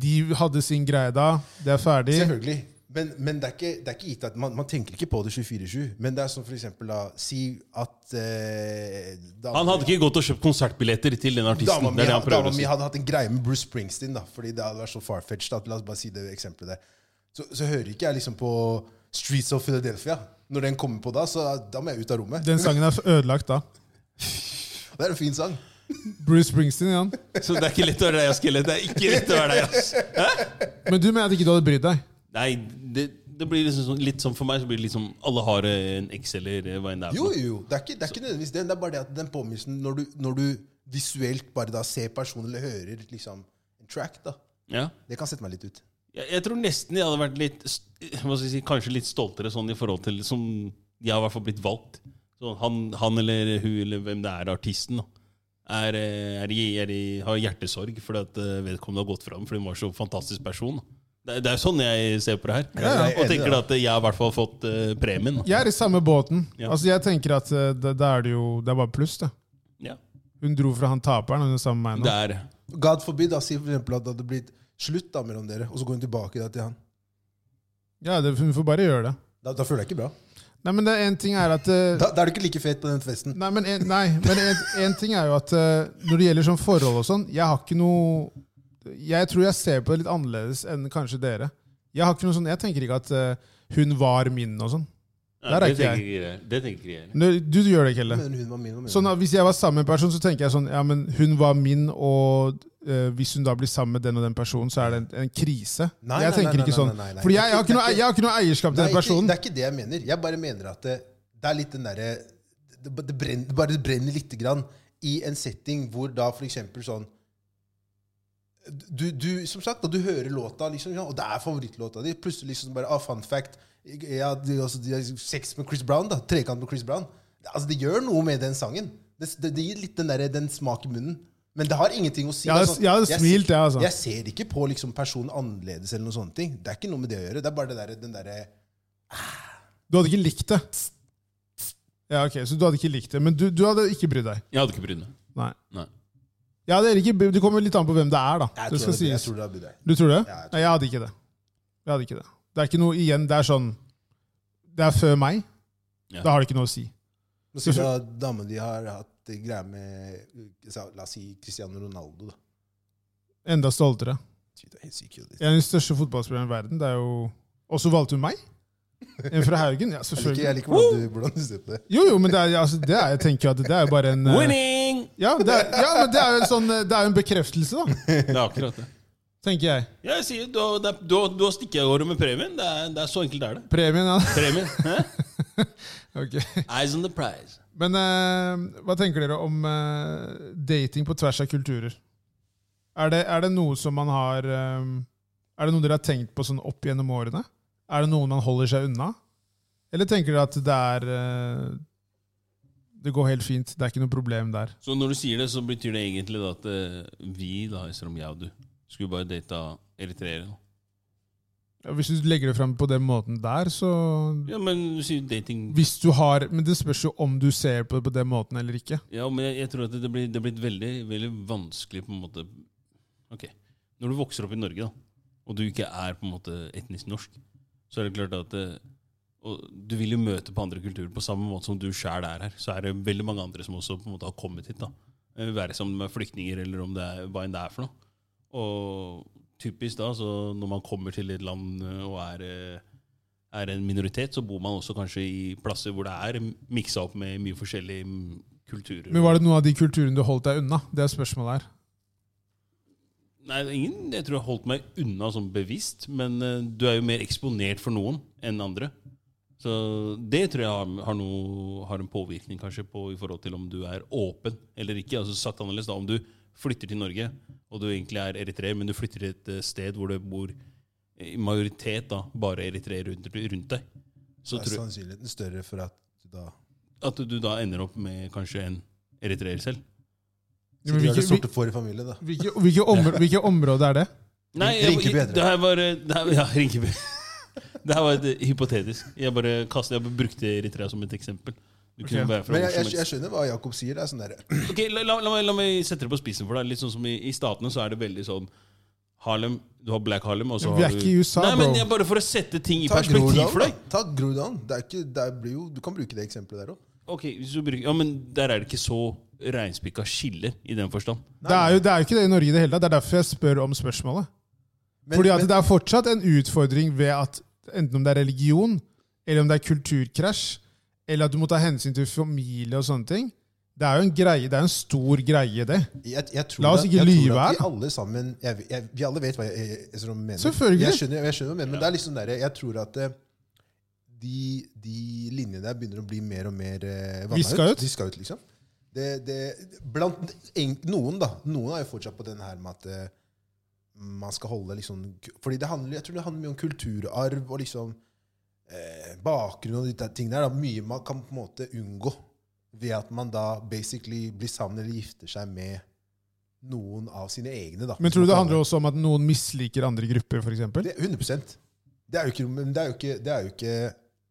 de hadde sin greie da, det er ferdig? Selvfølgelig. Men, men det, er ikke, det er ikke gitt at man, man tenker ikke på det 24-7. Men det er sånn for eksempel da, si at eh, dama- Han hadde ikke gått og kjøpt konsertbilletter til den Dama artisten. mi, Det er det han prøver dama å mi si. hadde hatt en greie med Bruce Springsteen, da, fordi det hadde vært så farfetched. at La oss bare si det eksempelet der. Så, så hører ikke jeg liksom på Streets of Philadelphia. Når den kommer på da, så da må jeg ut av rommet. Den sangen er ødelagt da. Det er en fin sang. Bruce Springsteen igjen. Så det er ikke lett å være deg, ass, Kelle. Det er ikke lett å være deg, ass. Men du mener at ikke du hadde brydd deg? Nei, det, det blir liksom sånn, litt sånn for meg så blir det liksom Alle har eh, en X eller eh, hva enn det er. for Jo, noe. jo, jo. Det er ikke, det er ikke nødvendigvis det. Det er bare det at den påminnelsen når du, når du visuelt bare da ser personen eller hører liksom en track, da. Ja. Det kan sette meg litt ut. Jeg, jeg tror nesten jeg hadde vært litt st- eh, hva skal jeg si, kanskje litt stoltere sånn i forhold til som Jeg har i hvert fall blitt valgt. Så han, han eller hun eller hvem det er, artisten, da, er, eh, er, i- er, i- har hjertesorg fordi at eh, vedkommende har gått fram fordi hun var så fantastisk person. da. Det, er- det er jo sånn jeg ser på det her. Ja, ja, jeg er og enig, tenker da. at jeg har i hvert fall fått eh, premien. Da. Jeg er i samme båten. Ja. Altså, jeg tenker at eh, da da er det jo Det er bare pluss, det. Ja. Hun dro fra han taperen, og hun er sammen med meg nå. Det er God forbid, da, si for eksempel at det hadde blitt slutt da mellom dere, og så går hun tilbake da til han. Ja, det, Hun får bare gjøre det. Da, da føler jeg ikke bra. Nei, men det er en ting er at eh, Da, da er du ikke like fet på den festen. Nei, men, en, nei, men en, en ting er jo at eh, når det gjelder sånn forhold og sånn, jeg har ikke noe Jeg tror jeg ser på det litt annerledes enn kanskje dere. Jeg har ikke noe sånn, jeg tenker ikke at eh, hun var min og sånn. Der er det ikke jeg. tenker jeg. Det tenker jeg. Du, du gjør det, Kelle. Men hun var min, og min. Sånn at Hvis jeg var sammen med en person, så tenker jeg sånn Ja, men hun var min, og eh, hvis hun da blir sammen med den og den personen, så er det en, en krise. Nei, jeg nei, tenker nei, ikke nei, sånn. nei, nei, nei. Fordi jeg, jeg, har ikke noe, Det er ikke- jeg har ikke noe eierskap til Nei, den ikke, personen. det er ikke det jeg mener. Jeg bare mener at det, det er litt den derre det, det, brenner- det bare brenner lite grann i en setting hvor da for eksempel sånn du, du, Som sagt, da du hører låta, liksom, ja, og det er favorittlåta di Plutselig liksom bare ah, Fun fact. Ja, de, altså, de har sex med Chris Brown. da Trekant med Chris Brown. Altså, Det gjør noe med den sangen. Det, det, det gir litt den, der, den smak i munnen. Men det har ingenting å si. Jeg hadde- altså. jeg hadde smilt, jeg, altså. Jeg ser ikke på liksom, personen annerledes eller noen sånne ting. Det er ikke noe med det å gjøre. Det er bare det der, den derre Du hadde ikke likt det. Ja, ok, Så du hadde ikke likt det. Men du, du hadde ikke brydd deg. Jeg hadde ikke brydd meg. Nei. Nei. Ja, det, er ikke, det kommer litt an på hvem det er, da. Jeg Det tror skal det, jeg sies. tror det er Budøy. Du tror det? Ja, jeg tror Nei, jeg hadde ikke det. Jeg hadde ikke Det Det er ikke noe igjen. Det er sånn Det er før meg. Ja. Da har det ikke noe å si. Nå sier jeg at damen de har hatt greier med sa- La oss si Cristiano Ronaldo. da. Enda stoltere. Fy, Det er helt sykt. jo, det. En av de største fotballspillerne i verden. Det er jo Og så valgte hun meg! En fra Haugen. Ja, <laughs> Jeg liker, jeg selvfølgelig. liker hvordan, du, hvordan du ser på det. Jo, jo, men det er, altså, det er, jeg tenker jo at det er jo bare en eh, Winning! Ja, det er, ja men det er jo en sånn eh, Det er jo en bekreftelse, da. Det er akkurat det. Tenker jeg. Ja, Jeg sier, da, da, da, da stikker jeg av gårde med premien. Det er, det er så enkelt er det. Premien, ja. <laughs> Premien. Hæ? Ok. Eyes on the prize. Men eh, hva tenker dere om eh, dating på tvers av kulturer? Er det, er det noe som man har eh, Er det noe dere har tenkt på sånn opp gjennom årene? Er det noen man holder seg unna? Eller tenker dere at det er eh, Det går helt fint, det er ikke noe problem der? Så når du sier det, så betyr det egentlig da at eh, vi, da, i om jeg og du, skulle bare data eritreere. da. Ja, Hvis du legger det fram på den måten der, så Ja, men du sier dating Hvis du har Men det spørs jo om du ser på det på den måten eller ikke. Ja, men jeg, jeg tror at det blir, det blir veldig, veldig vanskelig på en måte Ok, når du vokser opp i Norge da og du ikke er på en måte etnisk norsk, så er det klart at eh, og du vil jo møte på andre kulturer på samme måte som du sjæl er her. Så er det veldig mange andre som også på en måte har kommet hit. da. Eh, Være som de er flyktninger, eller om det er, hva enn det er for noe. Og typisk da, så når man kommer til et land eh, og er, eh, er en minoritet, så bor man også kanskje i plasser hvor det er miksa opp med mye forskjellige mm, kulturer. Men var det noen av de kulturene du holdt deg unna? Det er spørsmålet her. Nei, det er ingen jeg tror jeg holdt meg unna sånn bevisst, men eh, du er jo mer eksponert for noen enn andre. Så det tror jeg har, har, noe, har en påvirkning kanskje på i forhold til om du er åpen eller ikke. Altså sagt annerledes da, Om du flytter til Norge, og du egentlig er eritreer, men du flytter til et eh, sted hvor det bor eh, i majoritet da, bare eritreere rundt, rundt deg, så Da er tror jeg sannsynligheten større for at du da at du da ender opp med kanskje en eritreer selv. Ja, Siden men vi har hvilke, det sorte får i familien, da. hvilke, hvilke, områder, hvilke områder er det? Nei, jeg, Rinkeby heter det. det her var eh, det her, <laughs> Ja, Rinkeby. Det her var et eh, hypotetisk. Jeg bare kastet, jeg brukte Eritrea som et eksempel. Du kunne Ok. være fra Men jeg, hvor som jeg, jeg helst. skjønner hva Jakob sier. Det er sånn der, Ok, la, la, la, meg- la meg sette det på spissen for deg. Litt sånn som I, i statene så er det veldig sånn Harlem, Du har Black Harlem, og så Men vi er har du ikke i USA, Nei, men bro. jeg, Bare for å sette ting i ta perspektiv for Groruddalen. deg. da. Ta Groruddalen. Det er ikke- det blir jo- Du kan bruke det eksempelet der òg. Ok, hvis du bruker, ja, men Der er det ikke så reinspikka skiller, i den forstand. Det er jo det er jo ikke det i Norge i det hele tatt. Det er derfor jeg spør om spørsmålet. Fordi at det er fortsatt en utfordring ved at enten om det er religion, eller om det er kulturkrasj, eller at du må ta hensyn til familie og sånne ting, det er jo en greie, det er en stor greie, det. Jeg, jeg tror La oss at- ikke jeg tror lyve at her. Vi alle sammen jeg, jeg, Vi alle vet hva jeg, jeg, jeg, jeg mener. Selvfølgelig. Jeg skjønner, jeg skjønner hva du mener, men det er liksom der, jeg tror at eh, de, de linjene der begynner å bli mer og mer eh, vanna Viska ut? De skal ut, liksom. Det, det, blant en, noen, da. Noen er jo fortsatt på den her med at eh, man skal holde liksom Fordi det handler, jeg tror det handler mye om kulturarv og liksom eh, bakgrunn og de der tingene der. Da. Mye man kan på en måte unngå ved at man da basically blir sammen eller gifter seg med noen av sine egne. da. Men tror du det handler også om at noen misliker andre grupper, for eksempel? Det, 100 det er, jo ikke, men det er jo ikke, det er jo ikke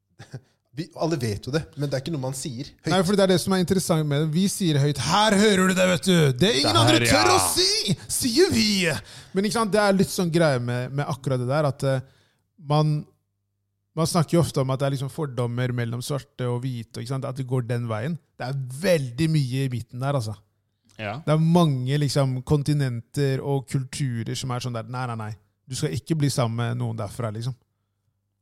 <laughs> vi, Alle vet jo det, men det er ikke noe man sier høyt. Nei, for det er det som er interessant med det. Vi sier høyt 'Her hører du det, vet du!' Det ingen Det her, andre tør ja. å si, sier vi! Men ikke sant, det er litt sånn greie med, med akkurat det der at eh, man man snakker jo ofte om at det er liksom fordommer mellom svarte og hvite. ikke sant? At det går den veien. Det er veldig mye i midten der. altså. Ja. Det er mange liksom, kontinenter og kulturer som er sånn der Nei, nei, nei. Du skal ikke bli sammen med noen derfra, liksom.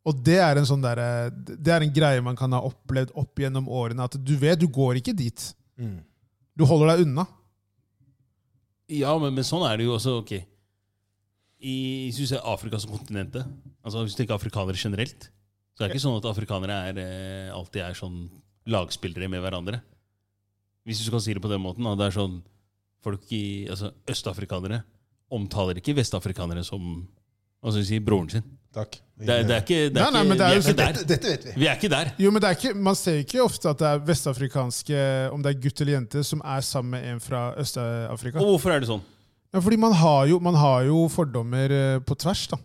Og det er en sånn der, eh, det er en greie man kan ha opplevd opp gjennom årene. At du vet du går ikke dit. Mm. Du holder deg unna. Ja, men, men sånn er det jo også. ok. I synes jeg, Afrika som kontinentet altså Hvis du tenker afrikanere generelt, så er det ikke sånn at afrikanere er, eh, alltid er sånn lagspillere med hverandre. Hvis du kan si det på den måten. Da, det er sånn, folk i, altså Østafrikanere omtaler ikke vestafrikanere som hva skal vi si, broren sin. Takk. Det, er- det er ikke, det Nei, er nei, ikke, men det vi er er jo ikke der. dette, dette vet vi. Vi er ikke der. Jo, men det er ikke, Man ser jo ikke ofte at det er vestafrikanske, om det er gutt eller jente, som er sammen med en fra Øst-Afrika. Og hvorfor er det sånn? Ja, fordi man har, jo, man har jo fordommer eh, på tvers, da.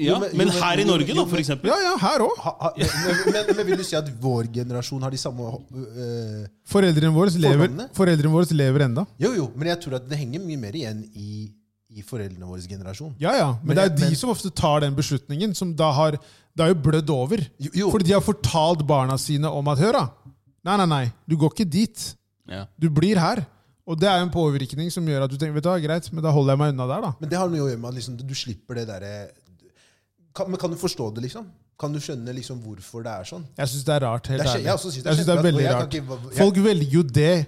Ja, men- jo, Men men- her i jo, Norge, da, jo, for men- eksempel. Ja, ja, her òg. Ha, ha, men, men, men vil du si at vår generasjon har de samme øh, Foreldrene våre lever, Fordommene? foreldrene våre lever enda. Jo, jo, men jeg tror at det henger mye mer igjen i, i foreldrene våres generasjon. Ja, ja. Men, Men det er jeg- de men- som ofte tar den beslutningen, som da har Det har jo blødd over. Jo, jo. Fordi de har fortalt barna sine om at Hør, da! Nei, nei, nei. Du går ikke dit. Ja. Du blir her. Og det er jo en påvirkning som gjør at du tenker vet du hva, greit, men da holder jeg meg unna der, da. Men det har noe å gjøre med at liksom, du slipper det derre kan, Men kan du forstå det, liksom? Kan du skjønne liksom hvorfor det er sånn? Jeg syns det er rart. helt Det er skje- ærlig. jeg også synes det er jeg synes det er kjemperart, og veldig jeg kan rart. ikke- jeg- Folk velger jo det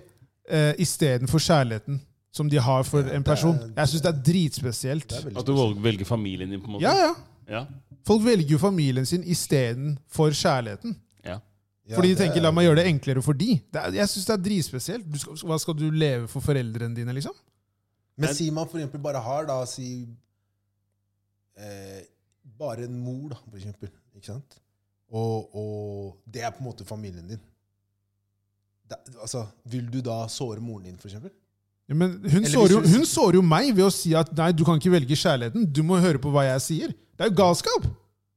eh, istedenfor kjærligheten som de har for en person. Jeg syns det er dritspesielt. Det er veldig At du valg- velger familien din, på en måte. Ja, ja. Ja, Folk velger jo familien sin istedenfor kjærligheten. ja. Ja, Fordi de det tenker er- 'la meg gjøre det enklere for de'. Det er, jeg synes det er dritspesielt. Du skal, hva skal du leve for foreldrene dine, liksom? Men si man for eksempel bare har da, si eh, Bare en mor, da, for eksempel. Ikke sant? Og, og det er på en måte familien din. Det, altså, Vil du da såre moren din, for eksempel? Ja, men hun Eller sårer, jo, hvis du- hun sårer jo meg ved å si at 'nei, du kan ikke velge kjærligheten'. Du må høre på hva jeg sier. Det er jo galskap!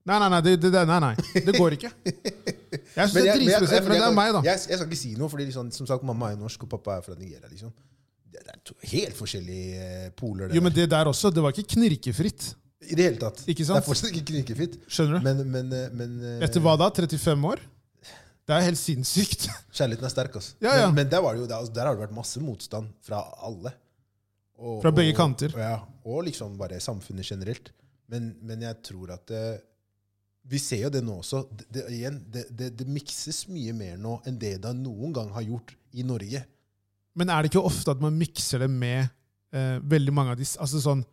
Nei, nei, nei. Det, det, nei, nei. det går ikke. Jeg syns det er jeg- jeg- dritspesielt, jeg- men det jeg- er meg, da. Jeg, jeg skal ikke si noe, fordi liksom, som sagt, mamma er jo norsk, og pappa er fra Nigeria. liksom. Det, det er to helt forskjellige eh, poler. det Jo, men der. det der også, det var ikke knirkefritt. I det hele tatt. Ikke Det sant? er fortsatt ikke knirkefitt. Skjønner du? Men, men, eh, men eh, Etter hva da? 35 år? Det er helt sinnssykt. kjærligheten er sterk. Altså. Ja, ja. Men, men der, var det jo, der, der har det vært masse motstand fra alle. Og- Fra begge og- kanter. Ja, og liksom bare samfunnet generelt. Men, men jeg tror at eh, Vi ser jo det nå også. Det, det, igjen, det, det, det mikses mye mer nå enn det det noen gang har gjort i Norge. Men er det ikke ofte at man mikser det med eh, veldig mange av de s- Altså sånn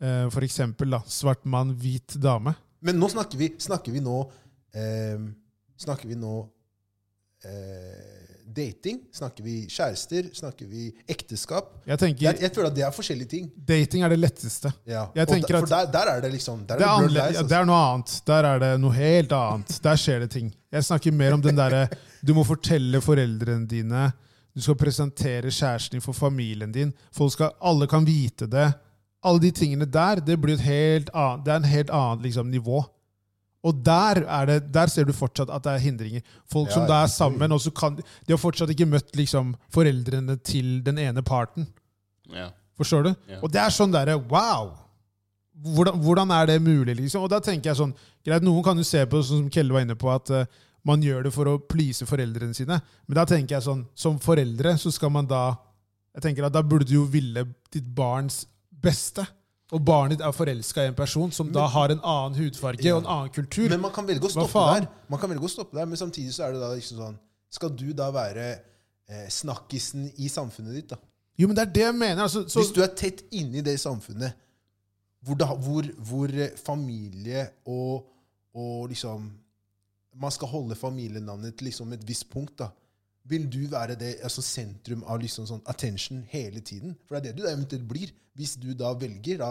eh, For eksempel da, svart mann, hvit dame. Men nå snakker vi, snakker vi nå eh, Snakker vi nå eh, dating? Snakker vi kjærester? Snakker vi ekteskap? Jeg tenker Jeg, jeg føler at det er forskjellige ting. dating er det letteste. Ja. Jeg og tenker der, at- for der, der er det liksom der Det er, er det blurred annerledes, lines, ja, det er noe annet. Der er det noe helt annet. Der skjer det ting. Jeg snakker mer om den derre du må fortelle foreldrene dine, du skal presentere kjæresten din for familien din, folk skal, alle kan vite det. Alle de tingene der, det blir et helt annet, det er en helt annet liksom, nivå. Og der, er det, der ser du fortsatt at det er hindringer. Folk som Ja, da ja. er sammen, og så kan, de har fortsatt ikke møtt liksom, foreldrene til den ene parten. Ja. Forstår du? Ja. Og det er sånn derre wow! Hvordan, hvordan er det mulig, liksom? Og da tenker jeg sånn greit, Noen kan jo se på, sånn som Kelle var inne på, at eh, man gjør det for å please foreldrene sine. Men da tenker jeg sånn Som foreldre så skal man da jeg tenker at Da burde du jo ville ditt barns beste. Og barnet ditt er forelska i en person som da har en annen hudfarge og en annen kultur. Men man kan velge å stoppe faen? der. Man kan velge å stoppe der, Men samtidig så er det da liksom sånn Skal du da være eh, snakkisen i samfunnet ditt, da? jo, men det er det jeg mener. Altså, så, Hvis du er tett inni det samfunnet hvor, da, hvor, hvor eh, familie og, og liksom Man skal holde familienavnet til liksom et visst punkt, da. Vil du være det altså sentrum av liksom sånn attention hele tiden? For det er det du da eventuelt blir, hvis du da velger da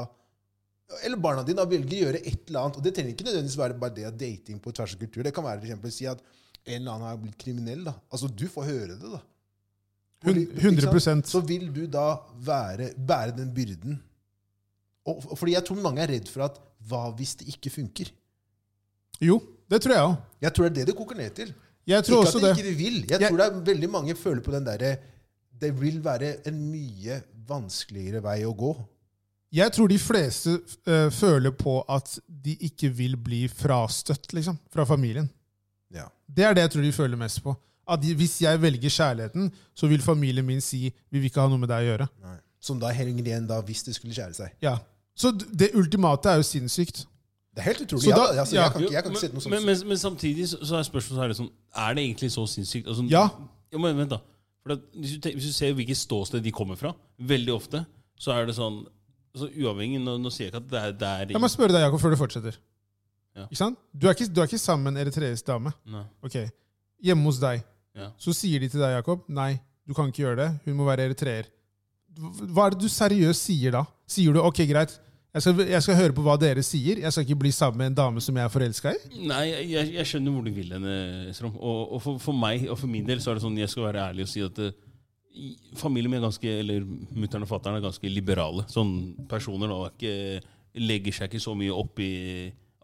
eller barna dine da velger å gjøre et eller annet. Og det trenger ikke nødvendigvis være bare det at dating på tvers av kultur. Det kan være for eksempel å si at en eller annen har blitt kriminell. da. Altså, du får høre det, da. Hvor- Hun- ikke 100%. sant? Så vil du da være, bære den byrden. Og, og fordi jeg tror mange er redd for at hva hvis det ikke funker? jo, det tror jeg òg. Jeg tror det er det det koker ned til. Jeg tror Ikke at også de det. ikke de vil. Jeg, Jeg- tror det er veldig mange føler på den derre Det vil være en mye vanskeligere vei å gå. Jeg tror de fleste eh, føler på at de ikke vil bli frastøtt liksom, fra familien. Ja. Det er det jeg tror de føler mest på. At de, hvis jeg velger kjærligheten, så vil familien min si vi vil ikke ha noe med deg å gjøre. Nei. Som da henger igjen da hvis det skulle skjære seg. Ja. Så d- det ultimate er jo sinnssykt. Det er helt Så utrolig. da- ja, altså, ja. jeg kan ikke, jeg kan ikke sette noe sånt. men, men, men samtidig så, så er spørsmålet så er det sånn Er det egentlig så sinnssykt? Altså, Ja. Jo, men vent da For at, hvis, du tenk, hvis du ser hvilket ståsted de kommer fra Veldig ofte Så er det sånn så Uavhengig Nå, nå sier jeg ikke at det er, det er Jeg må spørre deg, Jakob, før du fortsetter. Ja. Ikke sant? Du er ikke, du er ikke sammen med en eritreisk dame. Nei. Ok. Hjemme hos deg. Ja. Så sier de til deg, Jakob, nei, du kan ikke gjøre det. Hun må være eritreer. Hva- Hva er det du seriøst sier da? Sier du ok, greit, jeg skal, jeg skal høre på hva dere sier, jeg skal ikke bli sammen med en dame som jeg er forelska i? Nei, jeg, jeg skjønner hvor du vil henne, Strom. Og, og for, for meg og for min del så er det sånn jeg skal være ærlig og si at eh, i- familien min er ganske, eller mutter'n og fatter'n er ganske liberale. Sånn personer da, er ikke, legger seg ikke så mye opp i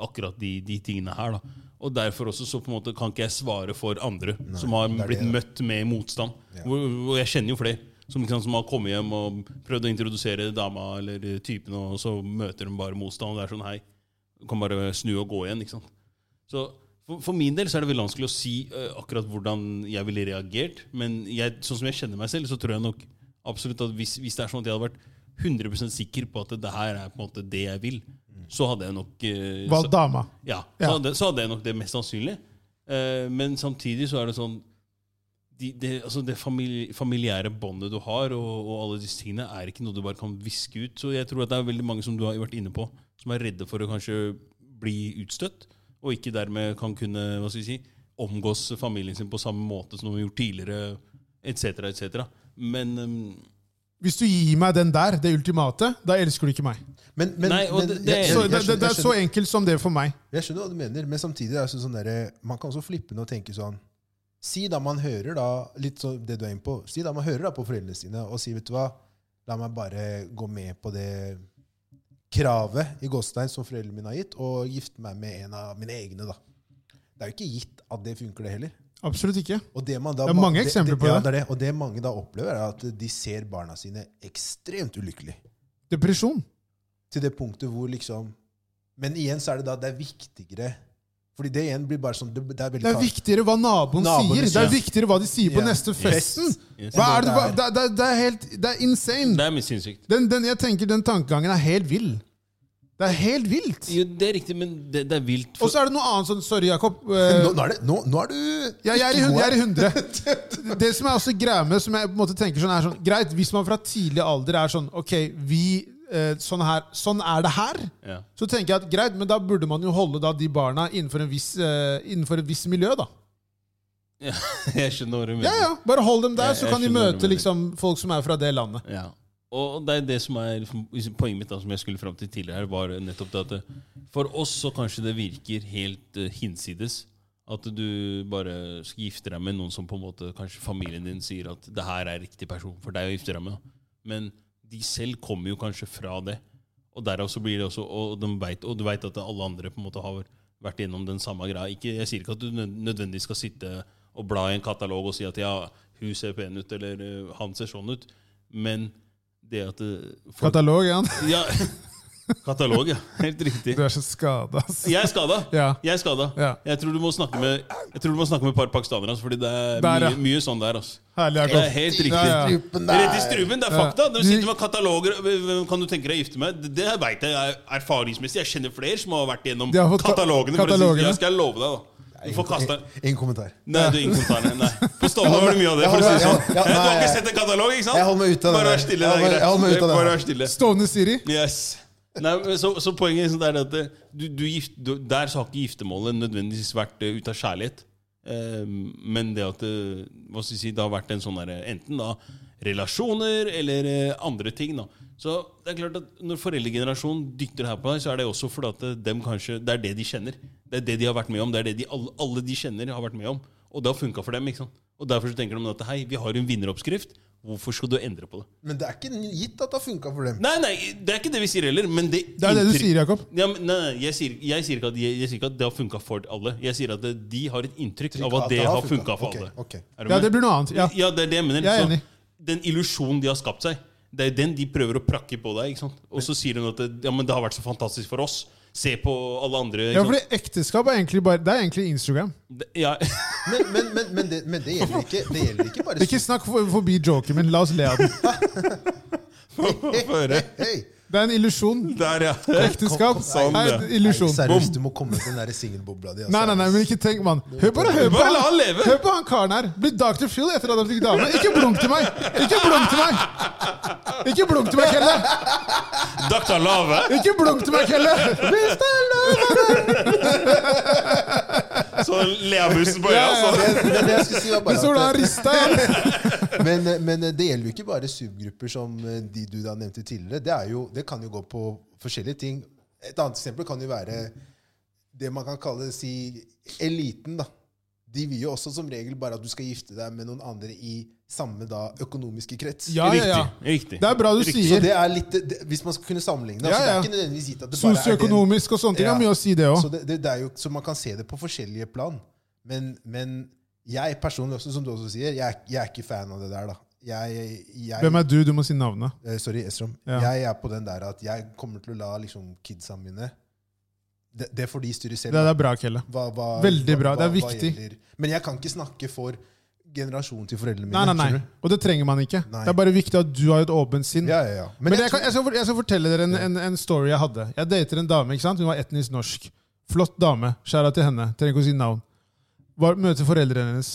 akkurat de, de tingene her. da. Og derfor også så på en måte kan ikke jeg svare for andre som har det er blitt det. møtt med motstand. Ja. Hvor, og jeg kjenner jo flere. Som, ikke sant, som har kommet hjem og prøvd å introdusere dama eller eh, typen, og så møter de bare motstand. Og det er sånn, hei, du kan bare snu og gå igjen. ikke sant? Så for, for min del så er det veldig vanskelig å si eh, akkurat hvordan jeg ville reagert. Men jeg, sånn som jeg kjenner meg selv, så tror jeg nok absolutt at hvis, hvis det er sånn at jeg hadde vært 100 sikker på at det her er på en måte det jeg vil, så hadde jeg nok eh, Valg så, dama. ja, så, Ja. hadde, så hadde jeg nok det mest sannsynlig. Eh, men samtidig så er det sånn de, det, altså det famili- familiære båndet du har, og, og alle disse tingene, er ikke noe du bare kan viske ut. Så jeg tror at det er veldig mange som du har vært inne på, som er redde for å kanskje bli utstøtt, og ikke dermed kan kunne hva skal vi si, omgås familien sin på samme måte som de har gjort tidligere, etc., etc. Men eh, Hvis du gir meg den der, det ultimate, da elsker du ikke meg. Men, men, Nei, og men det- det- jeg- jeg- Så det, jeg det, skjønner- det jeg er skjønner- så enkelt som det for meg. Jeg skjønner hva du mener, men samtidig er det sånn derre- man kan også flippe den og tenke sånn Si da man hører da litt sånn det du er inne på, si da man hører da på foreldrene sine og si, vet du hva, la meg bare gå med på det kravet i Gåstein som foreldrene mine har gitt, og gifte meg med en av mine egne. da. Det er jo ikke gitt at det funker, det heller. Absolutt ikke. Og det, man da, Det er mange eksempler på ja, det. det, er det. Og det mange da opplever, er at de ser barna sine ekstremt ulykkelige. Depresjon. Til det punktet hvor liksom Men igjen så er det da det er viktigere Fordi det igjen blir bare sånn Det, det er veldig Det er kar- viktigere hva naboen Naboen sier! Det er sier. viktigere hva de sier på Ja. neste Yes. festen! Yes. Hva er det, hva, det, det, det er helt Det er insane! Det er mye sinnssykt. Den, den, jeg tenker den tankegangen er helt vill. Det er helt vilt! Jo, det er riktig, men det, det er vilt. Og For, så er det noe annet sånn Sorry, Jakob. eh, nå, nå, er det, nå, nå er du Ja, jeg er i hun- jeg er i <laughs> 100. Det som er også greia med som jeg på en måte tenker sånn, er sånn Greit, hvis man fra tidlig alder er sånn Ok, vi eh, sånn, her, sånn er det her. ja. <laughs> Så tenker jeg at greit, men da burde man jo holde da de barna innenfor en viss, eh, innenfor et visst miljø, da. Jeg skjønner hva du Ja, mener. ja, Bare hold dem der, Jeg- så jeg kan de skjønner hva du møte mener. liksom folk som er fra det landet. Ja. Og det er det som er liksom, poenget mitt, da, som jeg skulle fram til tidligere, her, var nettopp det at det- for oss så kanskje det virker helt eh, hinsides. At du bare skal gifte deg med noen som på en måte kanskje familien din sier at det her er riktig person for deg å gifte deg med. da. Men de selv kommer jo kanskje fra det. Og derav så blir det også, og, de vet, og du veit at alle andre på en måte har vært gjennom den samme greia. Ikke, jeg sier ikke at du nød- nødvendigvis skal sitte og bla i en katalog og si at ja, hun ser pen ut, eller eh, han ser sånn ut. Men det at eh, folk- Katalog, ja. Ja, <laughs> katalog, ja. Helt riktig. Du er så skada, ass. Jeg er skada. Ja. Jeg er skada. Ja. Jeg tror du må snakke med Jeg tror du må snakke med et par pakistanere, altså, fordi det er Der, ja. mye, mye sånn der. Altså. Herlig, Det er Jakob. helt riktig. Ja, ja. Rett i strupen, det er Ja. fakta. De sitter med kataloger Hvem kan du tenke deg å gifte med? Det- Det vet jeg er erfaringsmessig. Jeg kjenner flere som har vært gjennom De har fått ta- katalogene. For å si katalogene. det. Jeg skal love deg, da. Du får kasta Eh, en, en kommentar. Nei, du er ingen kommentar. Nei. På Stovner var det mye av det. for å si det Ja, sånn. ja, Du har nei, ikke jeg- sett en katalog, ikke sant? jeg holder meg ute av det Bare der. vær stille. Jeg holder- det er greit. jeg holder meg ute av det Bare der. vær stille. Stående Siri. Yes. Nei, men så, så poenget er sånn der at eh, du, du gift, du, Der så har ikke giftermålet nødvendigvis vært eh, ut av kjærlighet. Eh, men det at eh, hva skal jeg si, det har vært en sånn derre Enten da relasjoner eller eh, andre ting. da Så det er klart at når foreldregenerasjonen dytter her på deg, så er det også fordi at eh, dem kanskje, det er det de kjenner. Det er det de har vært med om. Det er det de, alle, alle de kjenner, har vært med om. Og det har funka for dem. ikke sant? Og derfor så tenker de at hei, vi har en vinneroppskrift. Hvorfor skal du endre på det? Men det er ikke gitt at det har funka for dem. Nei, nei, det er ikke det vi sier heller. Men det, Det er det du inntrykk- sier, Jakob. ja, men, nei, nei, jeg sier, jeg, sier ikke at, jeg, jeg sier ikke at det har funka for alle. Jeg sier at det, de har et inntrykk av at det har funka for Ok, alle. ok. Er du Ja, med? det blir noe annet. Ja. Ja, det er det jeg mener. Jeg er Så enig. Den illusjonen de har skapt seg, det er den de prøver å prakke på deg. ikke sant? Og så sier hun at det, ja, men det har vært så fantastisk for oss. Se på alle andre. Ja, Ikke fordi sant? ekteskap er egentlig bare Det er egentlig Instagram. Det- Ja, <laughs> Men, men, men, men, det, men det, gjelder ikke, det gjelder ikke bare Ikke snakk for- forbi joken min. La oss le av den. Få høre. Hei, Det er en illusjon. Der, ja. Ekteskap Sånn, er ja. en illusjon. seriøst, du må komme med den der singelbobla di. altså. Nei, nei, nei, men ikke tenk, mann. Hør bare hør på Bare la han han, leve. hør på han karen her. Blir Dr. Phil etter at han fikk dame. Ikke blunk til meg! Ikke blunk til meg, Ikke blunk til meg, Kelle! Dr. Lave. Ikke blunk til meg, Kelle! Så leabussen på øya. Ja, ja. sånn. Det, det, det jeg skulle si var Du bare så hvordan at, han rista igjen. <laughs> men, eh, men det gjelder jo ikke bare subgrupper som eh, de du da nevnte tidligere. Det, er jo, det kan jo gå på forskjellige ting. Et annet eksempel kan jo være det man kan kalle si, eliten. da. De vil jo også som regel bare at du skal gifte deg med noen andre i samme da økonomiske krets. Ja, ja, ja. <laughs> Riktig. Riktig. Det er bra du Så sier. det er litt, det, Hvis man skal kunne sammenligne, Ja, altså, det ja. er ikke nødvendigvis gitt at det bare er den Sosioøkonomisk og sånne ting har Ja. mye å si, det Så, òg. det, det, det er jo, så man kan se det på forskjellige plan. Men, men jeg personlig også, som du også sier, jeg, er- jeg er ikke fan av det der, da. Jeg, jeg, Hvem er du? Du må si navnet. Eh, Sorry, Esrom. Ja. Jeg er på den der at jeg kommer til å la liksom, kidsa mine Det, det får de styre selv. Det der er bra, Kelle. Hva- hva- Veldig bra, hva- det er hva viktig. gjelder. Men jeg kan ikke snakke for generasjonen til foreldrene mine. Nei, nei, nei. skjønner du? Og det trenger man ikke. Nei. Det er bare viktig at du har et åpent sinn. Ja, ja, ja. Men, Mm. Men jeg, jeg, kan, jeg, skal, for- jeg skal fortelle dere en, en, en story jeg hadde. Jeg dater en dame. ikke sant? Hun var etnisk norsk. Flott dame. Skjæra til henne. Trenger ikke å si navn. Var, møter foreldrene hennes.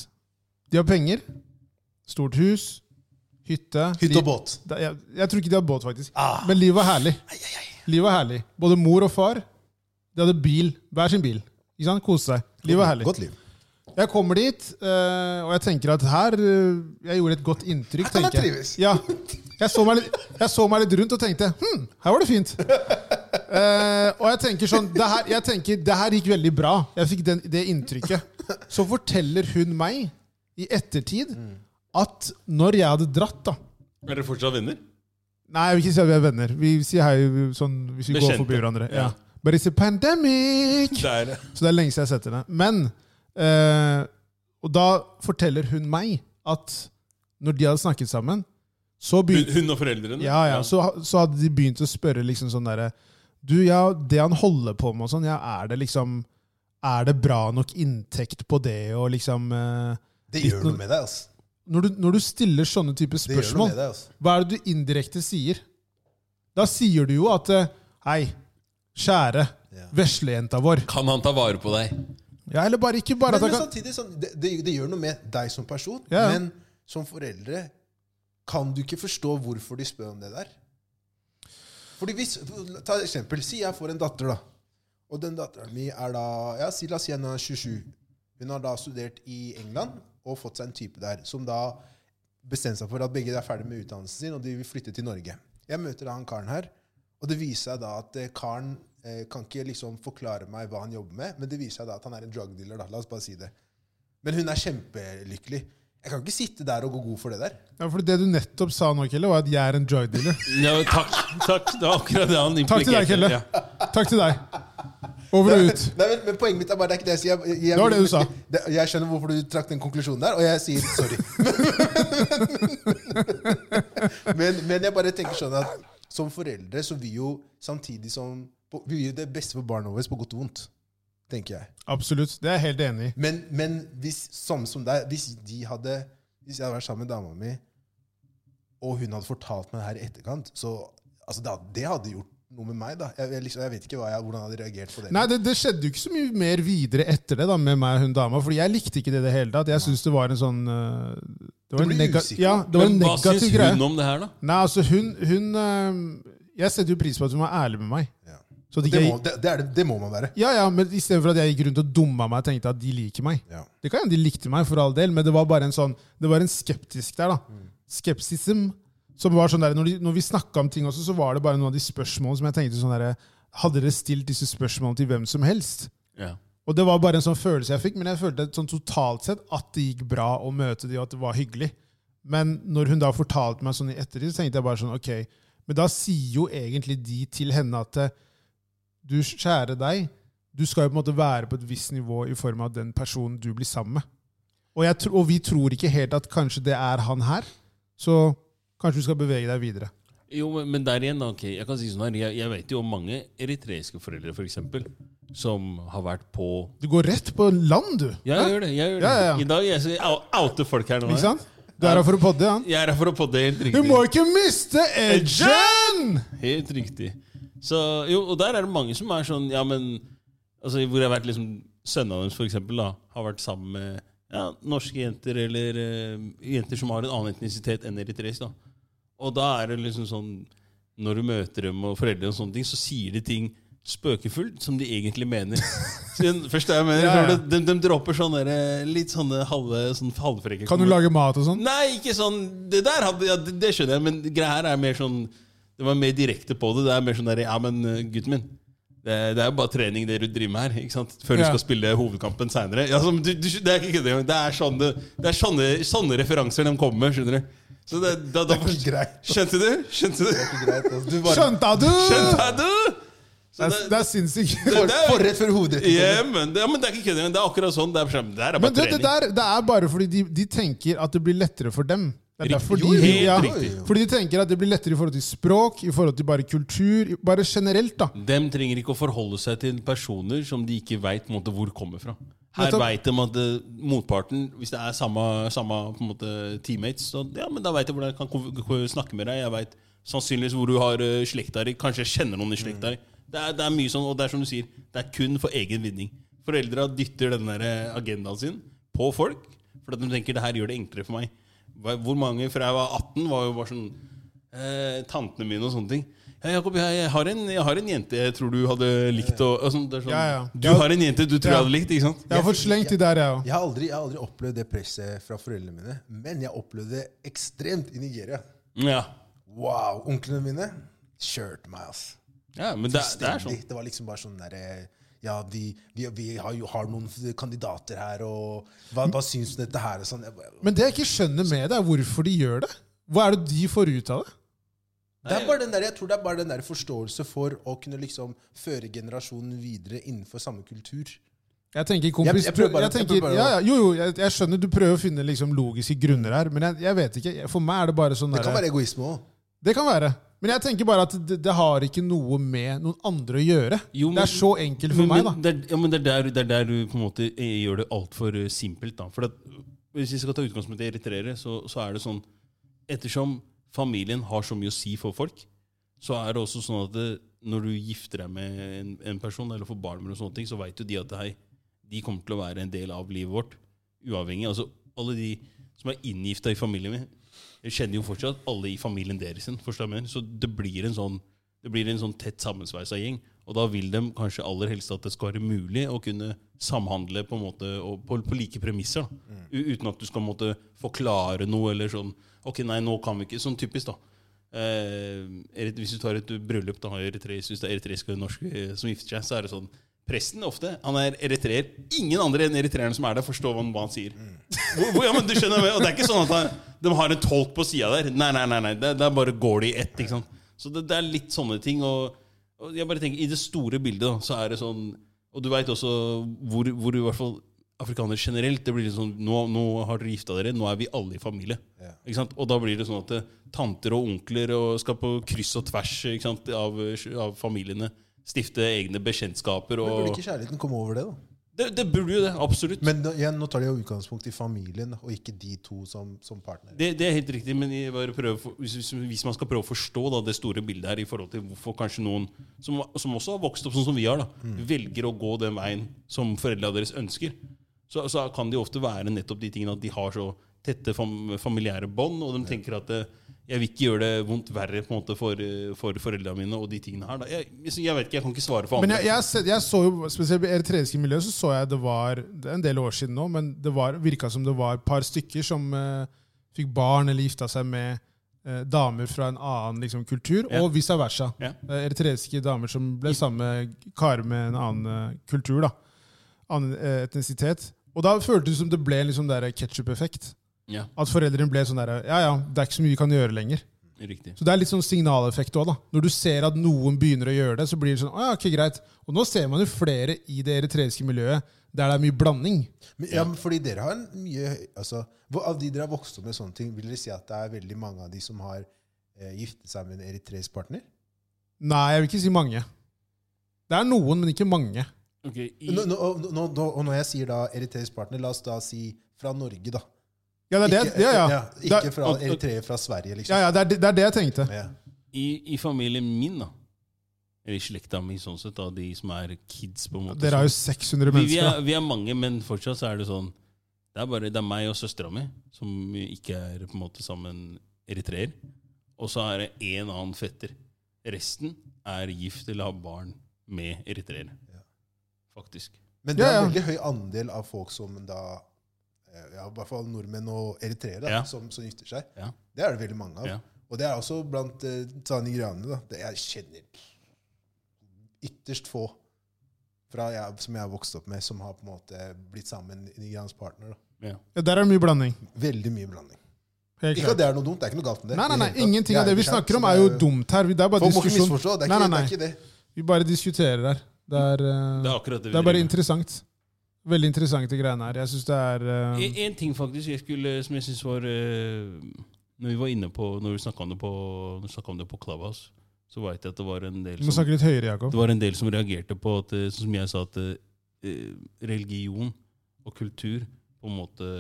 De har penger. Stort hus. Hytte. tror- hytte og Liv- båt. Ah. Da- Jeg, jeg tror ikke de har båt, faktisk. Men livet var herlig. Livet var herlig. Både mor og far. De hadde bil. Hver sin bil. Ikke sant? Kose seg. Livet var herlig. Godt liv. Jeg kommer dit, eh, og jeg tenker at her eh, Jeg gjorde et godt inntrykk. Her kan jeg tenker trives. Ja. Jeg så, meg litt, jeg så meg litt rundt og tenkte hm, her var det fint. Eh, og jeg tenker sånn det her, jeg tenker, det her gikk veldig bra. Jeg fikk den, det inntrykket. Så forteller hun meg i ettertid at når jeg hadde dratt da Er dere fortsatt venner? Nei, jeg vil ikke si at vi er venner. Vi sier hei sånn, hvis vi går Bekjente. forbi hverandre. Ja. Ja. But it's a pandemic! Der. Så det er lenge siden jeg har sett henne. Men eh, Og da forteller hun meg at når de hadde snakket sammen, så Hun, begynte hun og foreldrene? ja, ja, så, så hadde de begynt å spørre liksom sånn derre Du, ja, det han holder på med og sånn, ja, er det liksom Er det bra nok inntekt på det og liksom eh, Det Litt gjør noe- noe med deg, altså. når, du, når du stiller sånne typer Det gjør noe spørsmål, med deg, altså. hva er det du indirekte sier? Da sier du jo at eh, Hei, kjære Ja. veslejenta vår. Kan han ta vare på deg? Ja, eller bare ikke bare at Men, men han kan samtidig, sånn, det, det, det gjør noe med deg som person, Ja. men som foreldre kan du ikke forstå hvorfor de spør om det der. Fordi hvis, Ta et eksempel. Si jeg får en datter, da. Og den datteren min er da ja, si, La oss si hun er 27. Hun har da studert i England og fått seg en type der som da bestemte seg for at begge er ferdig med utdannelsen sin, og de vil flytte til Norge. Jeg møter da han karen her, og det viser seg da at eh, karen eh, kan ikke liksom forklare meg hva han jobber med, men det viser seg da at han er en drug dealer, da. La oss bare si det. Men hun er kjempelykkelig. Jeg kan ikke sitte der og gå god for det der. ja, For det du nettopp sa nå, Kelle, var at jeg er en drug <laughs> dealer. Ja, men takk, takk. Det var akkurat det han Takk implikerte. til deg, Kelle. Ja. Takk til deg. Over og ut. <laughs> Nei, men, men Poenget mitt er bare det er ikke det jeg sier. Jeg, jeg, Det var det du sa. Det, jeg skjønner hvorfor du trakk den konklusjonen der, og jeg sier sorry. <laughs> men, men jeg bare tenker sånn at som foreldre så vil jo samtidig som Vi vil jo det beste for barna våre på godt og vondt, tenker jeg. Absolutt. Det er jeg helt enig i. Men, men hvis samme som deg, hvis de hadde Hvis jeg hadde vært sammen med dama mi, og hun hadde fortalt meg det her i etterkant, så altså, det, hadde- det hadde gjort noe med meg. da. Jeg, jeg, liksom, jeg vet ikke hva jeg, hvordan jeg hadde reagert på det. Nei, det, det skjedde jo ikke så mye mer videre etter det da, med meg og hun dama. Fordi jeg likte ikke det i det hele tatt. Jeg synes det var en sånn øh, Det var Du en, blir nega usikker. ja, det var en Men hva syns negativ hun greie. om det her, da? Nei, altså, hun, hun øh, Jeg setter jo pris på at hun var ærlig med meg. Ja. Så at Det ikke må, jeg, det, det, er, det- det må man være. ja, ja, men Istedenfor at jeg gikk rundt og dumma meg og tenkte at de liker meg. Ja. Det kan hende de likte meg, for all del, men det var bare en sånn Det var en skeptisk der, da. Skepsism. Som var sånn der, Når, de, når vi snakka om ting også, så var det bare noen av de spørsmålene som jeg tenkte sånn der, Hadde dere stilt disse spørsmålene til hvem som helst? Ja. Og det var bare en sånn følelse jeg fikk, men jeg følte sånn totalt sett at det gikk bra å møte de, og at det var hyggelig. Men når hun da fortalte meg sånn i ettertid, så tenkte jeg bare sånn, ok, men da sier jo egentlig de til henne at eh, du kjære deg, du skal jo på en måte være på et visst nivå i form av den personen du blir sammen med. Og, jeg, tro- og vi tror ikke helt at kanskje det er han her, så kanskje du skal bevege deg videre. Jo, men- men der igjen, da, ok, jeg kan si sånn her, jeg, jeg vet jo om mange eritreiske foreldre for eksempel, som har vært på Du går rett på land, du. Ja, jeg gjør det. jeg gjør det. Ja, ja, ja. I dag jeg, så jeg ou- outer folk her nå. Ikke jeg. sant? Du er her for å podde, ja. Jeg er her for å podde, helt Du må riktig. ikke miste edgen! Helt riktig. Så, jo, og der er det mange som er sånn, ja, men altså, Hvor jeg har vært liksom Sønnene deres, for eksempel, da, har vært sammen med ja, norske jenter eller eh, jenter som har en annen etnisitet enn eritreisk. da. Og da er det liksom sånn Når du møter dem og foreldre og sånne ting, så sier de ting spøkefullt som de egentlig <laughs> mener. Så den- Først er jeg mener, Ja, ja. De, de dropper sånne der, eh, litt sånne halve, sånn halvfrekke Kan du lage mat og sånn? Nei, ikke sånn Det der hadde, ja, det, det skjønner jeg, men greia her er mer sånn Det var mer direkte på det. Det er mer sånn der, Ja, men eh, gutten min. Det, det er jo bare trening det du driver med her, ikke sant? før du Ja. skal spille hovedkampen seinere. Ja, som du, du, det er ikke det, det er, sånne, det er sånne, sånne referanser de kommer med, skjønner du. Så det, da, da, Det er ikke greit. skjønte du? Skjønte du? Det er greit, altså. Du bare Skjønta du? Skjønte du? Det Så er, det er sinnssykt. for, det er- forrett før hodet. ja, men, det, ja, men det er ikke kødd engang. Det er akkurat sånn. Det er, det er <laughs> bare Men det, det trening. der det er bare fordi de, de tenker at det blir lettere for dem. Det er Riktig. derfor Jo, de, helt ja, riktig. fordi de tenker at det blir lettere i forhold til språk, i forhold til bare kultur, i- bare generelt. da. Dem trenger ikke å forholde seg til personer som de ikke veit hvor kommer fra. Her Nettopp. veit de at eh, motparten, hvis det er samme, samme på en måte, teammates, så ja, men da veit jeg hvordan jeg kan ko- ko- snakke med deg. Jeg veit sannsynligvis hvor du har eh, slekta di. Kanskje jeg kjenner noen i slekta di. Mm. Det, er- det er mye sånn, og det er som du sier, det er kun for egen vinning. Foreldra dytter den der eh, agendaen sin på folk, for at de tenker det her gjør det enklere for meg. Hva- Hvor mange fra jeg var 18, var jo bare sånn eh, tantene mine og sånne ting. Ja, Jakob, jeg, jeg, har en, jeg har en jente jeg tror du hadde likt å og sånn, det er sånn, Ja, ja. Du har en jente du tror Ja. jeg hadde likt, ikke sant? Jeg har fått slengt de der, jeg òg. Jeg har, aldri, jeg har aldri opplevd det presset fra foreldrene mine, men jeg opplevde det ekstremt i Nigeria. Ja. Wow, Onklene mine kjørte meg, altså. ass. ja men det, det er sånn. Fullstendig. Det var liksom bare sånn derre Ja, vi, vi, vi har jo har noen kandidater her, og hva, hva syns du om dette her? Og sånn. Jeg bare- Men det jeg ikke skjønner med det, er hvorfor de gjør det. Hva er det de får ut av det? Det er bare den der, jeg tror det er bare den der forståelse for å kunne liksom føre generasjonen videre innenfor samme kultur. Jeg tenker kompis, Jeg- jeg prøver bare- jeg jeg prøver tenker, bare å- ja, ja, Jo, jo, jeg, jeg skjønner du prøver å finne liksom logiske grunner her, men jeg, jeg vet ikke. For meg er det bare sånn Det kan derre- være egoisme òg. Det kan være. Men jeg tenker bare at det, det har ikke noe med noen andre å gjøre. Jo, men- det er så enkelt for men, meg, da. men det er, ja, men det er, der, det er der du på en måte eh, gjør det altfor simpelt. da. For at, Hvis vi skal ta utgangspunkt i eritreere, så, så er det sånn Ettersom familien har så mye å si for folk, så er det også sånn at det, når du gifter deg med en, en person, eller får barn med noen sånne ting, så veit jo de at hei, de kommer til å være en del av livet vårt. Uavhengig. Altså, alle de som er inngifta i familien min, jeg kjenner jo fortsatt alle i familien deres. sin, forstår du hva jeg mener? Så det blir en sånn det blir en sånn tett sammensveisa gjeng. Og da vil de kanskje aller helst at det skal være mulig å kunne samhandle på, en måte, og på, på like premisser. Da. U- Uten at du skal måtte forklare noe eller sånn Ok, nei, nå kan vi ikke. Sånn typisk, da. Eh, erit- hvis du tar et bryllup da, i Eritrea, hvis det er eritreiske og norske eh, som gifter seg, så er det sånn Presten ofte, han er eritreer. Ingen andre enn eritreerne som er der, forstår hva han, hva han sier. <laughs> Hvor, hvor, ja, men du skjønner, og Det er ikke sånn at han, de har en tolk på sida der. Nei, nei, nei, nei. Der, der bare går de i ett. ikke sant? Så det, det er litt sånne ting. Og, og jeg bare tenker, I det store bildet da, så er det sånn Og du veit også hvor, hvor i hvert fall afrikanere generelt det blir litt sånn, Nå, nå har dere gifta dere, nå er vi alle i familie. Ikke sant? Og da blir det sånn at eh, tanter og onkler og skal på kryss og tvers ikke sant? Av, eh, av familiene. Stifte egne bekjentskaper. Men Burde Og, ikke kjærligheten komme over det, da? det, det burde jo det. Absolutt. Men nå- igjen, nå tar de jo utgangspunkt i familien, og ikke de to som, som partnere. Det, det er helt riktig, men jeg bare prøver, for- hvis, hvis- hvis man skal prøve å forstå da, det store bildet her i forhold til hvorfor kanskje noen som, som også har vokst opp sånn som vi har, da, Mm. velger å gå den veien som foreldra deres ønsker, så, så kan det jo ofte være nettopp de tingene at de har så tette fam familiære bånd, og de tenker at eh, jeg vil ikke gjøre det vondt verre på en måte for, eh, for foreldra mine og de tingene her. Da. Jeg, jeg, jeg vet ikke, jeg kan ikke svare for Men andre. jeg, jeg, se- jeg så jo, spesielt i eritreiske miljø, så så jeg det var det er en del år siden nå, men det var, virka som det var et par stykker som eh, fikk barn eller gifta seg med eh, damer fra en annen liksom, kultur, Ja. og vice versa. Ja. Eh, eritreiske damer som ble samme karer med en annen eh, kultur, da. Annen eh, etnisitet. Og da føltes det som det ble en liksom ketsjup-effekt. Ja, At foreldrene ble sånn der Ja, ja, det er ikke så mye vi kan gjøre lenger. riktig. Så det er litt sånn signaleffekt òg, da. Når du ser at noen begynner å gjøre det, så blir det sånn Å ja, ok, greit. Og nå ser man jo flere i det eritreiske miljøet der det er mye blanding. Men, ja, men fordi dere har en mye høy- altså, hvor- Av de dere har vokst opp med sånne ting, vil dere si at det er veldig mange av de som har eh, giftet seg med en eritreisk partner? Nei, jeg vil ikke si mange. Det er noen, men ikke mange. Ok, i, Nå, nå, og- nå, nå, og når jeg sier da eritreisk partner, la oss da si fra Norge, da. Ja, det er det, Ikke, ja, ja. ja, Det ikke er, fra og- og- eritreer fra Sverige, liksom. ja, ja, det, er, det er det jeg tenkte. Ja. i, I familien min, da, eller i slekta mi sånn sett, da, de som er kids på en måte Dere har som- jo 600 vi, vi, mennesker. er, vi er mange, men fortsatt så er det sånn Det er bare det er meg og søstera mi som ikke er på en måte sammen eritreer. Og så er det én annen fetter. Resten er gift eller har barn med eritreere. Ja. Faktisk. Men det Ja, er ja. en veldig høy andel av folk som da eh, ja, I hvert fall nordmenn og eritreere da, Ja. som, som gifter seg. Ja. Det er det veldig mange av. Ja. Og det er også blant uh, tanigranene. da. Det jeg kjenner ytterst få fra jeg, som jeg har vokst opp med, som har på en måte blitt sammen med nigeriansk partner. Da. Ja. Ja, der er det mye blanding. Veldig mye blanding. Helt Ikke klart. at det er noe dumt. Det er ikke noe galt med det. Nei, nei, nei, i det hele tatt. ingenting av det vi ikke sant, snakker om, så er jo det- dumt her. Det er bare Folk må ikke diskusjon. misforstå. Det er Nei, ikke, nei, nei. Det er ikke det. Vi bare diskuterer her. Det er, eh, Det er akkurat det vi det er bare driver med. interessant. Veldig interessante greiene her. Jeg syns det er eh, En, en ting faktisk jeg skulle, som jeg syns var eh, Når vi var inne på Når vi snakka om, det på- når vi snakket om det på Clubhouse, så veit jeg at det var en del Du må snakke litt høyere, Jakob. Det var en del som reagerte på at, eh, sånn som jeg sa, at eh, religion og kultur på en måte,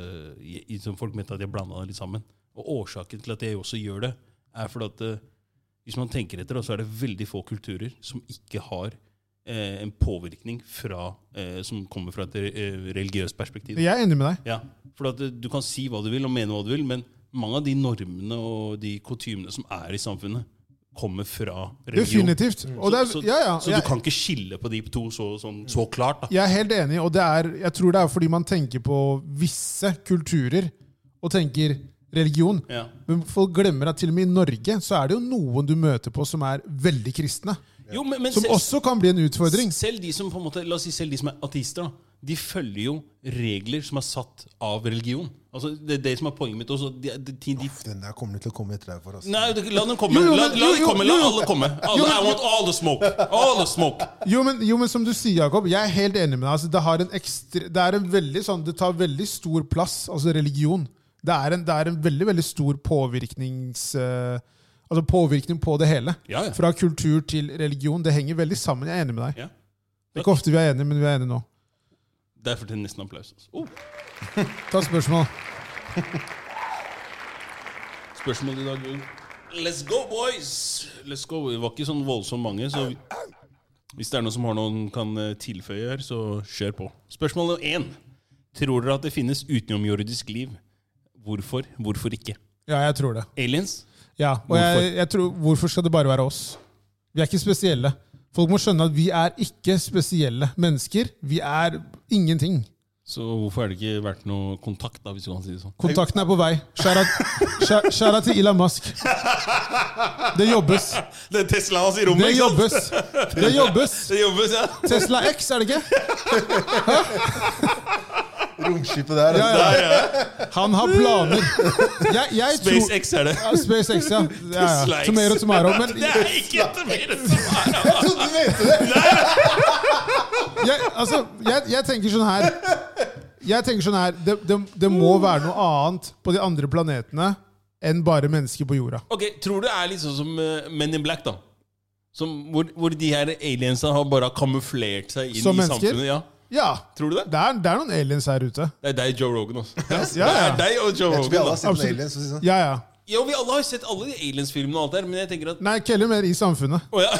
i- i- som Folk mente at jeg blanda det litt sammen. Og årsaken til at jeg også gjør det, er fordi at eh, hvis man tenker etter, da, så er det veldig få kulturer som ikke har eh, en påvirkning fra, eh, som kommer fra et eh, religiøst perspektiv. Jeg er enig med deg. Ja, for at eh, du kan si hva du vil og mene hva du vil, men mange av de normene og de kutymene som er i samfunnet, kommer fra religion. Mm. Definitivt. Og det Så- er, ja, ja. Så du Jeg, kan ikke skille på de to så, sånn, så klart, da. jeg er helt enig, og det er, jeg tror det er fordi man tenker på visse kulturer og tenker religion. Ja. Men folk glemmer at til og med i Norge så er det jo noen du møter på som er veldig kristne. Jo, men, men Som selv, også kan bli en utfordring. selv de som på en måte, la oss si selv de som er ateister, da, de følger jo regler som er satt av religion. Altså, det er det som er poenget mitt også. De, de, de, de, Den der kommer til å komme etter deg for <laughs> oss. Nei, du- la dem komme. Jo, jo, La, men- la jo, dem jo, komme. La jo, jo. alle komme. Alle, I want all the smoke. All the smoke. Jo men, jo, men som du sier, Jakob, jeg er helt enig med deg. Altså, det, har en ekstre, det, er en veldig, sånn, det tar veldig stor plass, altså religion. Det er en, det er en veldig veldig stor påvirknings... eh, Altså påvirkning på det hele. Ja, ja. Fra kultur til religion. Det henger veldig sammen. Jeg er enig med deg. Ja. Det er ikke ofte vi er enige, men vi er enige nå. Det er for til nesten applaus. Altså. Oh, Ta spørsmål. spørsmål i dag, Jon. Let's go, boys! Let's go. Det var ikke sånn voldsomt mange, så hvis det er noen som har noen kan eh, tilføye her, så kjør på. Spørsmål nummer én. Tror dere at det finnes utenomjordisk liv? Hvorfor? Hvorfor ikke? Ja, jeg tror det. Aliens? Ja, og jeg, jeg tror, Hvorfor skal det bare være oss? Vi er ikke spesielle. Folk må skjønne at vi er ikke spesielle mennesker. Vi er ingenting. Så hvorfor har det ikke vært noe kontakt, da, hvis du kan si det sånn? Kontakten er på vei. Skjæra til Elon Musk. Det jobbes. Det er Tesla hans i Det rommet, jobbes. Det jobbes. Det jobbes, ja. Tesla X, er det ikke? Romskipet der. Ja, altså. ja. Han har planer. Jeg, jeg tror, SpaceX er det. ja, SpaceX, ja. ja, <laughs> ja. Tesla X. Tomero, tomero. Men Det er ikke mer som er <laughs> av Jeg trodde du mente det! jeg, altså, jeg, jeg tenker sånn her Jeg tenker sånn her det, det, det må være noe annet på de andre planetene enn bare mennesker på jorda. Ok, Tror du det er litt sånn som eh, Men in Black, da? Som, hvor, hvor de her aliensa har bare kamuflert seg inn Som i mennesker? samfunnet? Ja. Ja, Tror du det? det er, det er noen aliens her ute. Det er deg, Joe Rogan. Også. Ja, Det er ja. deg og Joe Jeg tror vi alle Rogan. har sett Absolutt. en alien. Så å si sånn. ja, ja. Da. Ja, Vi alle har sett alle de aliens-filmene, og alt der, men jeg tenker at Nei, ikke heller mer i samfunnet. Å ja.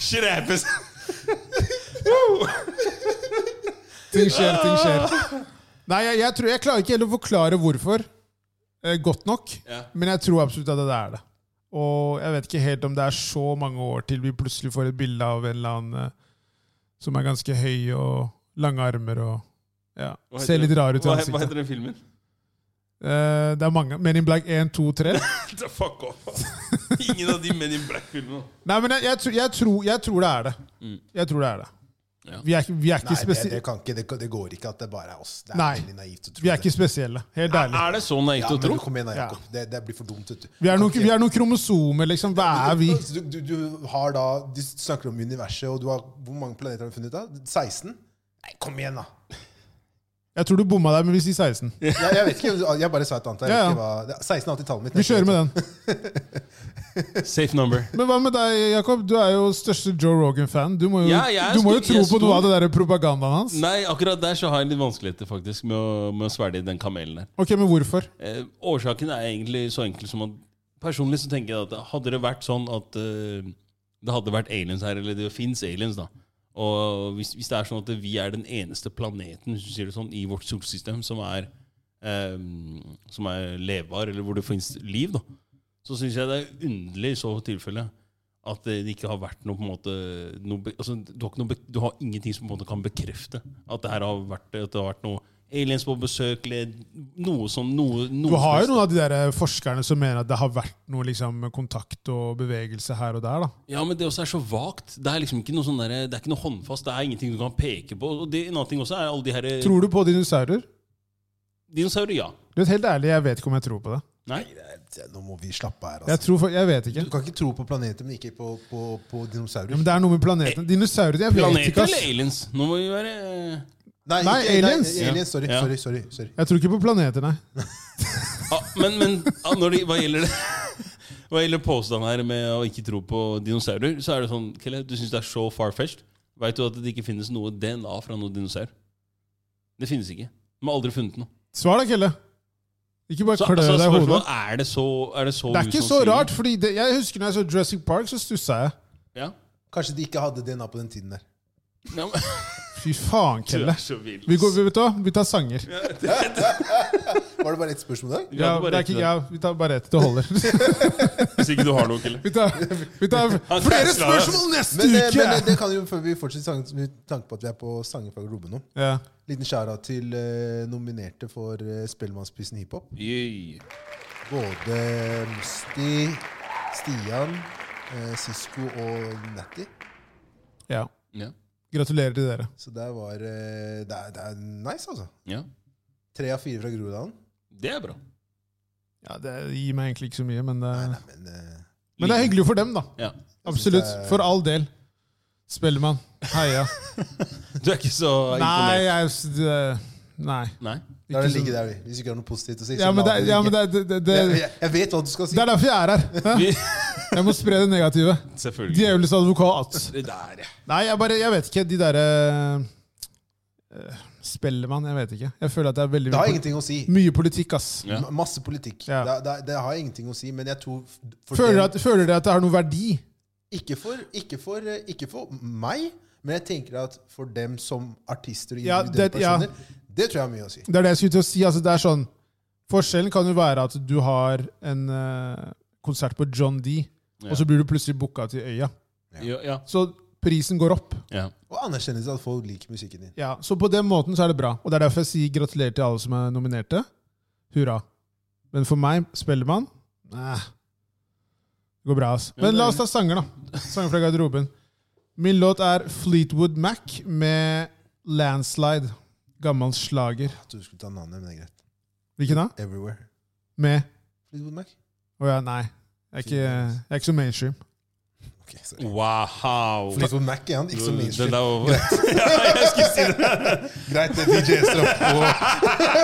Shrapes. Ting skjer, ting skjer. Nei, jeg, jeg, tror, jeg klarer ikke heller å forklare hvorfor eh, godt nok, Ja. men jeg tror absolutt at det er det. Og jeg vet ikke helt om det er så mange år til vi plutselig får et bilde av en eller annen eh, som er ganske høy og lange armer og ja, Hva heter ser litt den- rar ut i hva- ansiktet. Hva heter den filmen? Eh, det er mange. Men in Black 1, 2, 3. The fuck off. Ingen av de Men in Black-filmene. Nei, men jeg, jeg, tror- jeg, tror, jeg tror det er det. Jeg tror det er det. Mm. Ja. Vi er, ikke- vi er ikke Nei, det, det, spesielle. kan ikke, det, kan- det går ikke at det bare er oss. Det er Nei. veldig naivt å tro Vi er det. ikke spesielle. Helt ærlig. Er det så naivt ja, å tro? men kom igjen, da, Ja. Jakob. Det, det blir for dumt. Vet du. Vi er Du noen, kan vi ikke- er noen kromosomer, liksom. Hva er vi? Så Du, du, du har da Du snakker om universet, og du har, hvor mange planeter har du funnet ut av? 16? Nei, kom igjen, da! Jeg tror du bomma der, men vi sier 16. Jeg, jeg vet ikke, jeg bare sa et annet. Jeg Ja, vet ja. ikke hva, det er 16 er alltid tallet mitt. Vi kjører med den. Safe number. Men hva med deg, Jakob? Du er jo største Joe Rogan-fan. Du må jo, Ja, jeg er du må jo stor- tro jeg er på noe av stor. det der propagandaen hans. Nei, akkurat der så har jeg litt vanskeligheter faktisk med å, med å svelge den kamelen der. Ok, men hvorfor? Eh, årsaken er egentlig så enkel som at Personlig så tenker jeg at hadde det vært sånn at eh, det hadde vært aliens her, eller det fins aliens, da Og hvis, hvis det er sånn at vi er den eneste planeten hvis du sier det sånn, i vårt solsystem som er eh, Som er levbar, eller hvor det fins liv, da så syns jeg det er underlig i så tilfelle at det ikke har vært noe på en måte noe, be- altså, du, har ikke noe, be- du har ingenting som på en måte kan bekrefte at det her har vært, at det har vært noe aliens på besøk, eller noe som noe, noe Du har jo som helst. noen av de der eh, forskerne som mener at det har vært noe liksom, kontakt og bevegelse her og der. da. Ja, men det også er så vagt. Det er liksom ikke noe sånn der, det er ikke noe håndfast, det er ingenting du kan peke på. Og det, en annen ting også er alle de her eh, Tror du på dinosaurer? Dinosaurer, ja. Du vet, Helt ærlig, jeg vet ikke om jeg tror på det. Nei? Nå må vi slappe av her, Jeg, altså. tror, for- jeg vet ikke. Du kan ikke tro på planeter, men ikke på, på, på dinosaurer. Ja, men det er noe med planeten. Dinosaurer jeg vet Planeter ikke, eller ass. aliens? Nå må vi være eh, nei, Nei, ikke- aliens. Nei, aliens sorry, Ja. sorry, sorry, sorry. Jeg tror ikke på planeter, nei. Ja, ah, men, men ja, når det, hva gjelder det <laughs> Hva gjelder påstanden her med å ikke tro på dinosaurer, så er det sånn Kelle, du syns det er så far-fetched. Veit du at det ikke finnes noe DNA fra noen dinosaur? Det finnes ikke. De har aldri funnet noe. Svar da, Kelle. Ikke bare Så, altså, klø deg så i hodet. spørsmålet er det så Er det så, Det er ikke så usannsynlig? rart, fordi det, jeg husker når jeg så Jurassic Park, så stussa jeg. Ja. Kanskje de ikke hadde DNA på den tiden der. Ja, men, <laughs> Fy faen, du Kelle. er så vill. Vi, går, vet du, hva? vi tar sanger. Ja, Var det bare ett spørsmål der? Vi hadde det bare er rett ikke, til ja, det. vi tar bare ett. Det holder. Hvis ikke du har noe, Kelle. Vi tar, vi tar Han flere cancela det. spørsmål neste Men, det, men det- uke! det kan jo, før vi fortsetter sangen, med tanke på at vi er på sanger fra garderoben nå. Ja. Liten skjæra til eh, nominerte for eh, Spellemannsprisen i hiphop. Yay. Både eh, Musti, Stian, eh, Sisko og Natty. ja. Ja. Gratulerer til dere. Så der var eh, det, er, det er nice, altså. ja. Tre av fire fra Groruddalen. Det er bra. Ja, det gir meg egentlig ikke så mye, men det, Nei, nei, men eh, men det er hyggelig for dem, da. Ja. Absolutt. For all del. Spellemann. Heia. Du er ikke så Nei, imponert? jeg, det, Nei. Nei. La det Ikke ligge sånn- der, vi. hvis du ikke har noe positivt å si. så Ja, men la det, ja, men ligge. det, det, det, det, jeg, jeg- jeg vet hva du skal si. det er derfor jeg er her. Hæ? Vi, Jeg må spre det negative. <laughs> selvfølgelig. Djevelens advokat. Det der, ja. Nei, jeg bare, jeg vet ikke. De derre uh, Spellemann, jeg vet ikke. Jeg føler at det er veldig Det har mye, ingenting å si. poli- mye politikk, ass. Ja. Ma- Masse politikk. Ja. Det, det, det har ingenting å si, men jeg tror for Føler dem- dere at, føler dere at det har noe verdi? ikke, for, ikke, for, eh, ikke for meg, men jeg tenker at for dem som artister og Ja, individuelle det- ja. personer, det tror jeg har mye å si. Det er det jeg skulle til å si. Altså, det er sånn, forskjellen kan jo være at du har en eh, konsert på John D, Ja. og så blir du plutselig booka til Øya. Jo, ja. Så prisen går opp. ja. Og anerkjennelse at folk liker musikken din. Ja, Så på den måten så er det bra. Og det er derfor jeg sier gratulerer til alle som er nominerte. Hurra. Men for meg, Spellemann Nei. Det går bra, ass. Men la oss ta sanger, da. Sanger fra garderoben. Min låt er Fleetwood Mac med 'Landslide'. Gammel slager. Jeg trodde du skulle ta navnet, men det er greit. Hvilken da? Everywhere. Med Fleetwood Mac? Å ja, nei. Jeg er, ikke, jeg er ikke så mainstream. Ok, sorry. Wow! Fleetwood Mac er han, ikke så mye. <laughs> Det der var- Greit, det er DJ Estrop.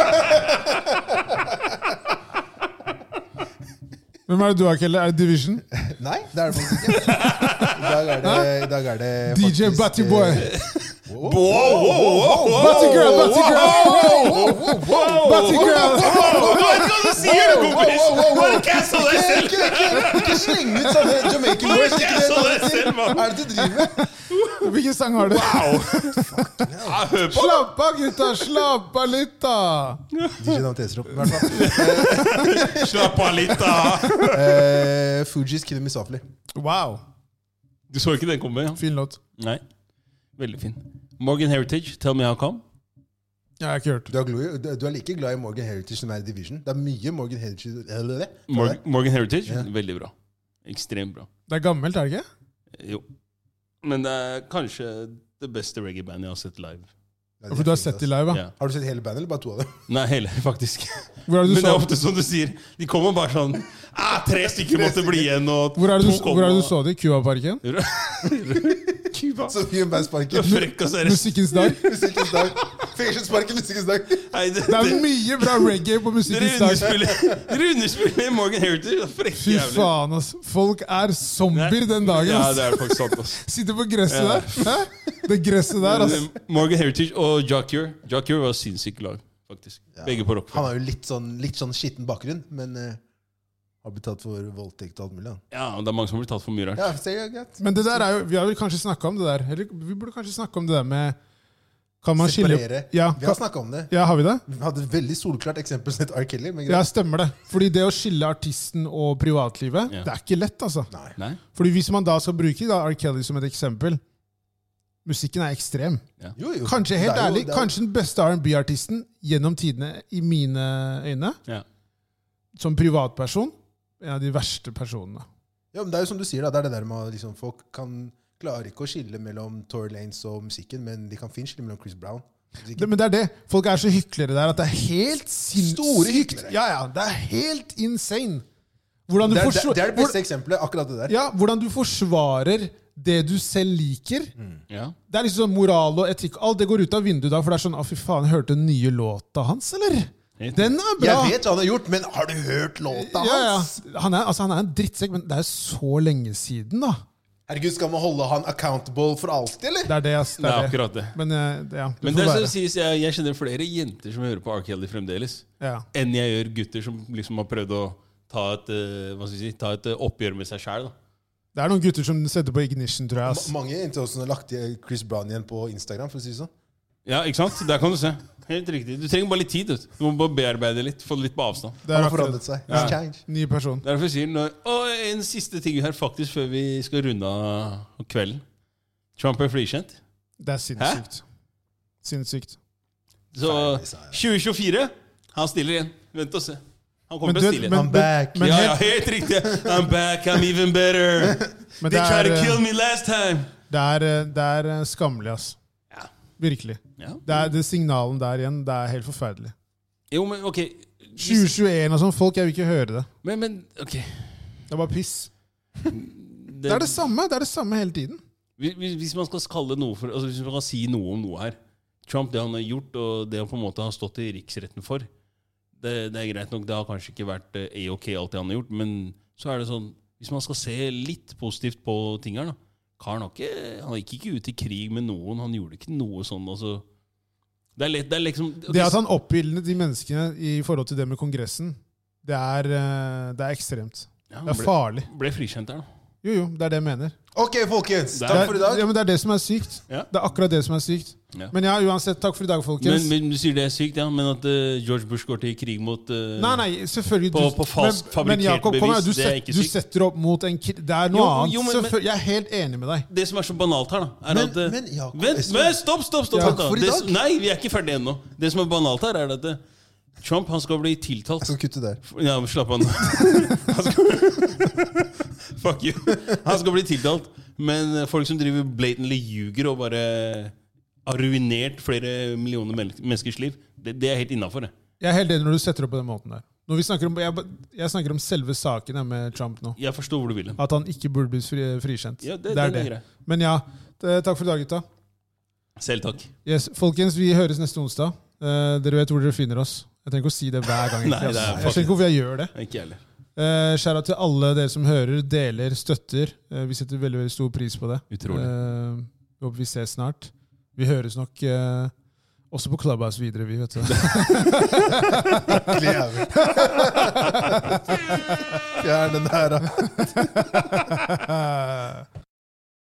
Hvem er det du har, Kelle? Er det Division? Nei, det er det faktisk ikke. I dag er det, i dag er det DJ faktisk, eh, Batty Boy. Wow, wow, wow, wow. Batty Girl, Batty Girl! Batty Girl! Hva er det du sier, du, kompis? Bare cancel deg eh, selv! Ikke, ikke, ikke sleng ut sånne Jamaican boys. Ikke Ikke vet hva sånn det de sier. selv, mann. Hva er det du driver med? <laughs> Hvilken sang har du? Ja, Ah, hør på! Slapp av, gutta! Slapp av litt, da! DJ Dante Estrop, i hvert <laughs> fall. Slapp av litt, da! Eh, Fugees Kid Miss Afli. Wow. Du så ikke den komme? Ja. Fin låt. Nei. Veldig fin. Morgan Heritage, Tell Me How Come. Jeg har ikke hørt. Du er, glo- du er like glad i Morgan Heritage som er i Division. Det er mye Morgan Heritage eller det. Morgan, Morgan Heritage, veldig bra. Ekstremt bra. Det er gammelt, er det ikke? Jo. Men det er kanskje det beste reggae-bandet jeg har sett live. Ja, For du har sett de live, Ja. da. Har du sett hele bandet, eller bare to av dem? <laughs> Nei, hele, faktisk. Hvor er det Men du det er så, ofte som du sier, de kommer bare sånn ah, Tre stykker måtte bli igjen, og hvor er det du, to kom, hvor er det du <laughs> og- så det? Cuba-parken? Cuba. Så mye om <laughs> Du er bandsparken. frekk, altså. og så er det Musikkens dag? Musikkens dag. Fengselsparken, musikkens dag. <laughs> Nei, det, Det er <laughs> det, mye bra reggae på dere musikkens dag. underspiller, dere underspiller Morgan Heritage. det er Frekke Fy jævler. faen, ass. Folk er zombier den dagen. Ja, ass. det er faktisk sant, ass. Sitter på gresset Ja. der. Hæ? Det gresset der, <laughs> ass. Morgan Heritage og Jocure. Jocure var sinnssykt lag, faktisk. Begge på rock. Han har jo litt sånn, litt sånn skitten bakgrunn, men eh, har blitt tatt for voldtekt og alt mulig. han. Ja, det er mange som blir tatt for mye rart. Ja, ser jeg greit. Men det der er jo, vi har vel kanskje snakka om det der. Eller vi burde kanskje snakke om det der med Kan man skille Separere. Ja, Vi har kan, snakka om det. ja, har vi det? Vi hadde et veldig solklart eksempel som het R. Kelly. Men Ja, greit. stemmer det. Fordi det å skille artisten og privatlivet, Ja. det er ikke lett, altså. Nei. Nei? Fordi hvis man da skal bruke da R. Kelly som et eksempel Musikken er ekstrem. Jo, jo. Kanskje helt Det er jo- ærlig, det er jo- kanskje den beste R&B-artisten gjennom tidene, i mine øyne. Ja. Som privatperson. En av de verste personene. Ja, men Det er jo som du sier, da. Det er det der med at liksom, folk kan klarer ikke å skille mellom Tory Lanes og musikken, men de kan fint skille mellom Chris Brown. Musikken. Det, men det er det. Folk er så hyklere der at det er helt sinnssykt. Store hyklere. Ja, ja. Det er helt insane. Hvordan du Det er, det, forsvar- det er det beste eksempelet. akkurat det der. Ja, hvordan du forsvarer det du selv liker. Mm. Ja. Det er liksom sånn moral og etikk. Alt det går ut av vinduet da, for det er sånn Å, fy faen, hørte du den nye låta hans, eller? Den er bra! Jeg vet hva han har gjort, men har du hørt låta ja, ja. hans? Han, er, altså, han er en drittsekk, men det er jo så lenge siden, da. Herregud, Skal man holde han accountable for alltid, eller? Det er det, ass. Det Det er er det. akkurat det. Men eh, det- ja, det Men det får er som være. sies, jeg, jeg kjenner flere jenter som hører på R. Kelly fremdeles, Ja. enn jeg gjør gutter som liksom har prøvd å ta et, eh, hva skal jeg si, ta et eh, oppgjør med seg sjæl. Det er noen gutter som setter på ignition, tror jeg. ass. Ma- Mange jenter også har lagt til Chris Brown igjen på Instagram. for å si det sånn. Ja, ikke sant? Der kan du se. Helt riktig. Du trenger bare litt tid. vet Du Du må bare bearbeide litt. Få det litt på avstand. Det er Han har akkurat- forandret seg. Ja. He's changed. Ny person. Derfor sier han Og en siste ting her, faktisk, før vi skal runde av kvelden. Trump er frikjent. Det er sinnssykt. Sinnssykt. Så Ferdig, sa jeg. 2024 Han stiller igjen. Vent og se. Han Men kommer du til å vet- stille men- igjen. I'm back. men ja, helt- ja, helt riktig. I'm back, I'm even better. <laughs> Men They det tried er, to kill eh, me last time. det er, eh, det er eh, skammelig, ass. Ja. Virkelig. Ja. Det, er, det signalen der igjen, det er helt forferdelig. Jo, men ok. Hvis- 2021 og sånn, folk, jeg vil ikke høre det. Men, men ok. Det er bare piss. Det, Det er det samme det er det samme hele tiden. hvis, hvis man skal kalle noe for altså, Hvis man kan si noe om noe her Trump, det han har gjort, og det han på en måte har stått i riksretten for Det, det er greit nok, det har kanskje ikke vært eh, A-OK, alt det han har gjort, men så er det sånn Hvis man skal se litt positivt på ting her, da Karen har ikke, han gikk ikke ut i krig med noen, han gjorde ikke noe sånn, altså Det er, lett, det er liksom Det at han oppildnet de menneskene i forhold til det med Kongressen, det er, eh, det er ekstremt. Det Ja, han er ble, farlig. ble frikjent der, da. Jo, jo, det er det jeg mener. Ok, folkens. Det Det er- Takk er, for i dag. ja, men det er det som er sykt. Ja. Det er akkurat det som er sykt. Ja. Men ja, uansett, takk for i dag, folkens. Men, men Du sier det er sykt, ja, men at eh, George Bush går til krig mot eh, Nei, nei, selvfølgelig. På- på fast fabrikkert kom her, bevis, du, det er set, ikke du sykt. setter opp mot en kid... Det er noe Jo, annet. jo, men- men- Selvføl- jeg er helt enig med deg. Det som er så banalt her, da, er Men- at eh, men Jakob Vent, Espen- men stopp, stopp! stopp Ja. vent da. Takk for i det, dag. Nei, vi er ikke ferdige ennå. Det som er banalt her, er at eh, Trump han skal bli tiltalt Jeg skal kutte der. Ja, men slapp <laughs> av nå. Han skal... <laughs> Fuck you. Han skal bli tiltalt. Men eh, folk som driver blatantly ljuger og bare har ruinert flere millioner men- menneskers liv, det, det er helt innafor, det. Jeg er helt enig når du setter opp på den måten der. Når vi snakker om, jeg, ba- jeg snakker om selve saken her med Trump nå. Jeg forstår hvor du vil hen. At han ikke burde bli fri, frikjent. Ja, det det- den er er det. grei. Men ja, det, takk for i dag, gutta. Selv takk. Yes, folkens, vi høres neste onsdag. Eh, dere vet hvor dere finner oss. Jeg trenger ikke å si det hver <laughs> gang. Nei, egentlig, det er altså. jeg faktisk- skjønner ikke hvorfor jeg gjør det. Ikke jeg heller. Uh, Skjæra til alle dere som hører, deler, støtter. Eh, vi setter veldig veldig stor pris på det. Utrolig. Eh, håper vi ses snart. Vi høres nok eh, også på Clubhouse videre, vi, vet du. <laughs> Fjern den her, da. Eh,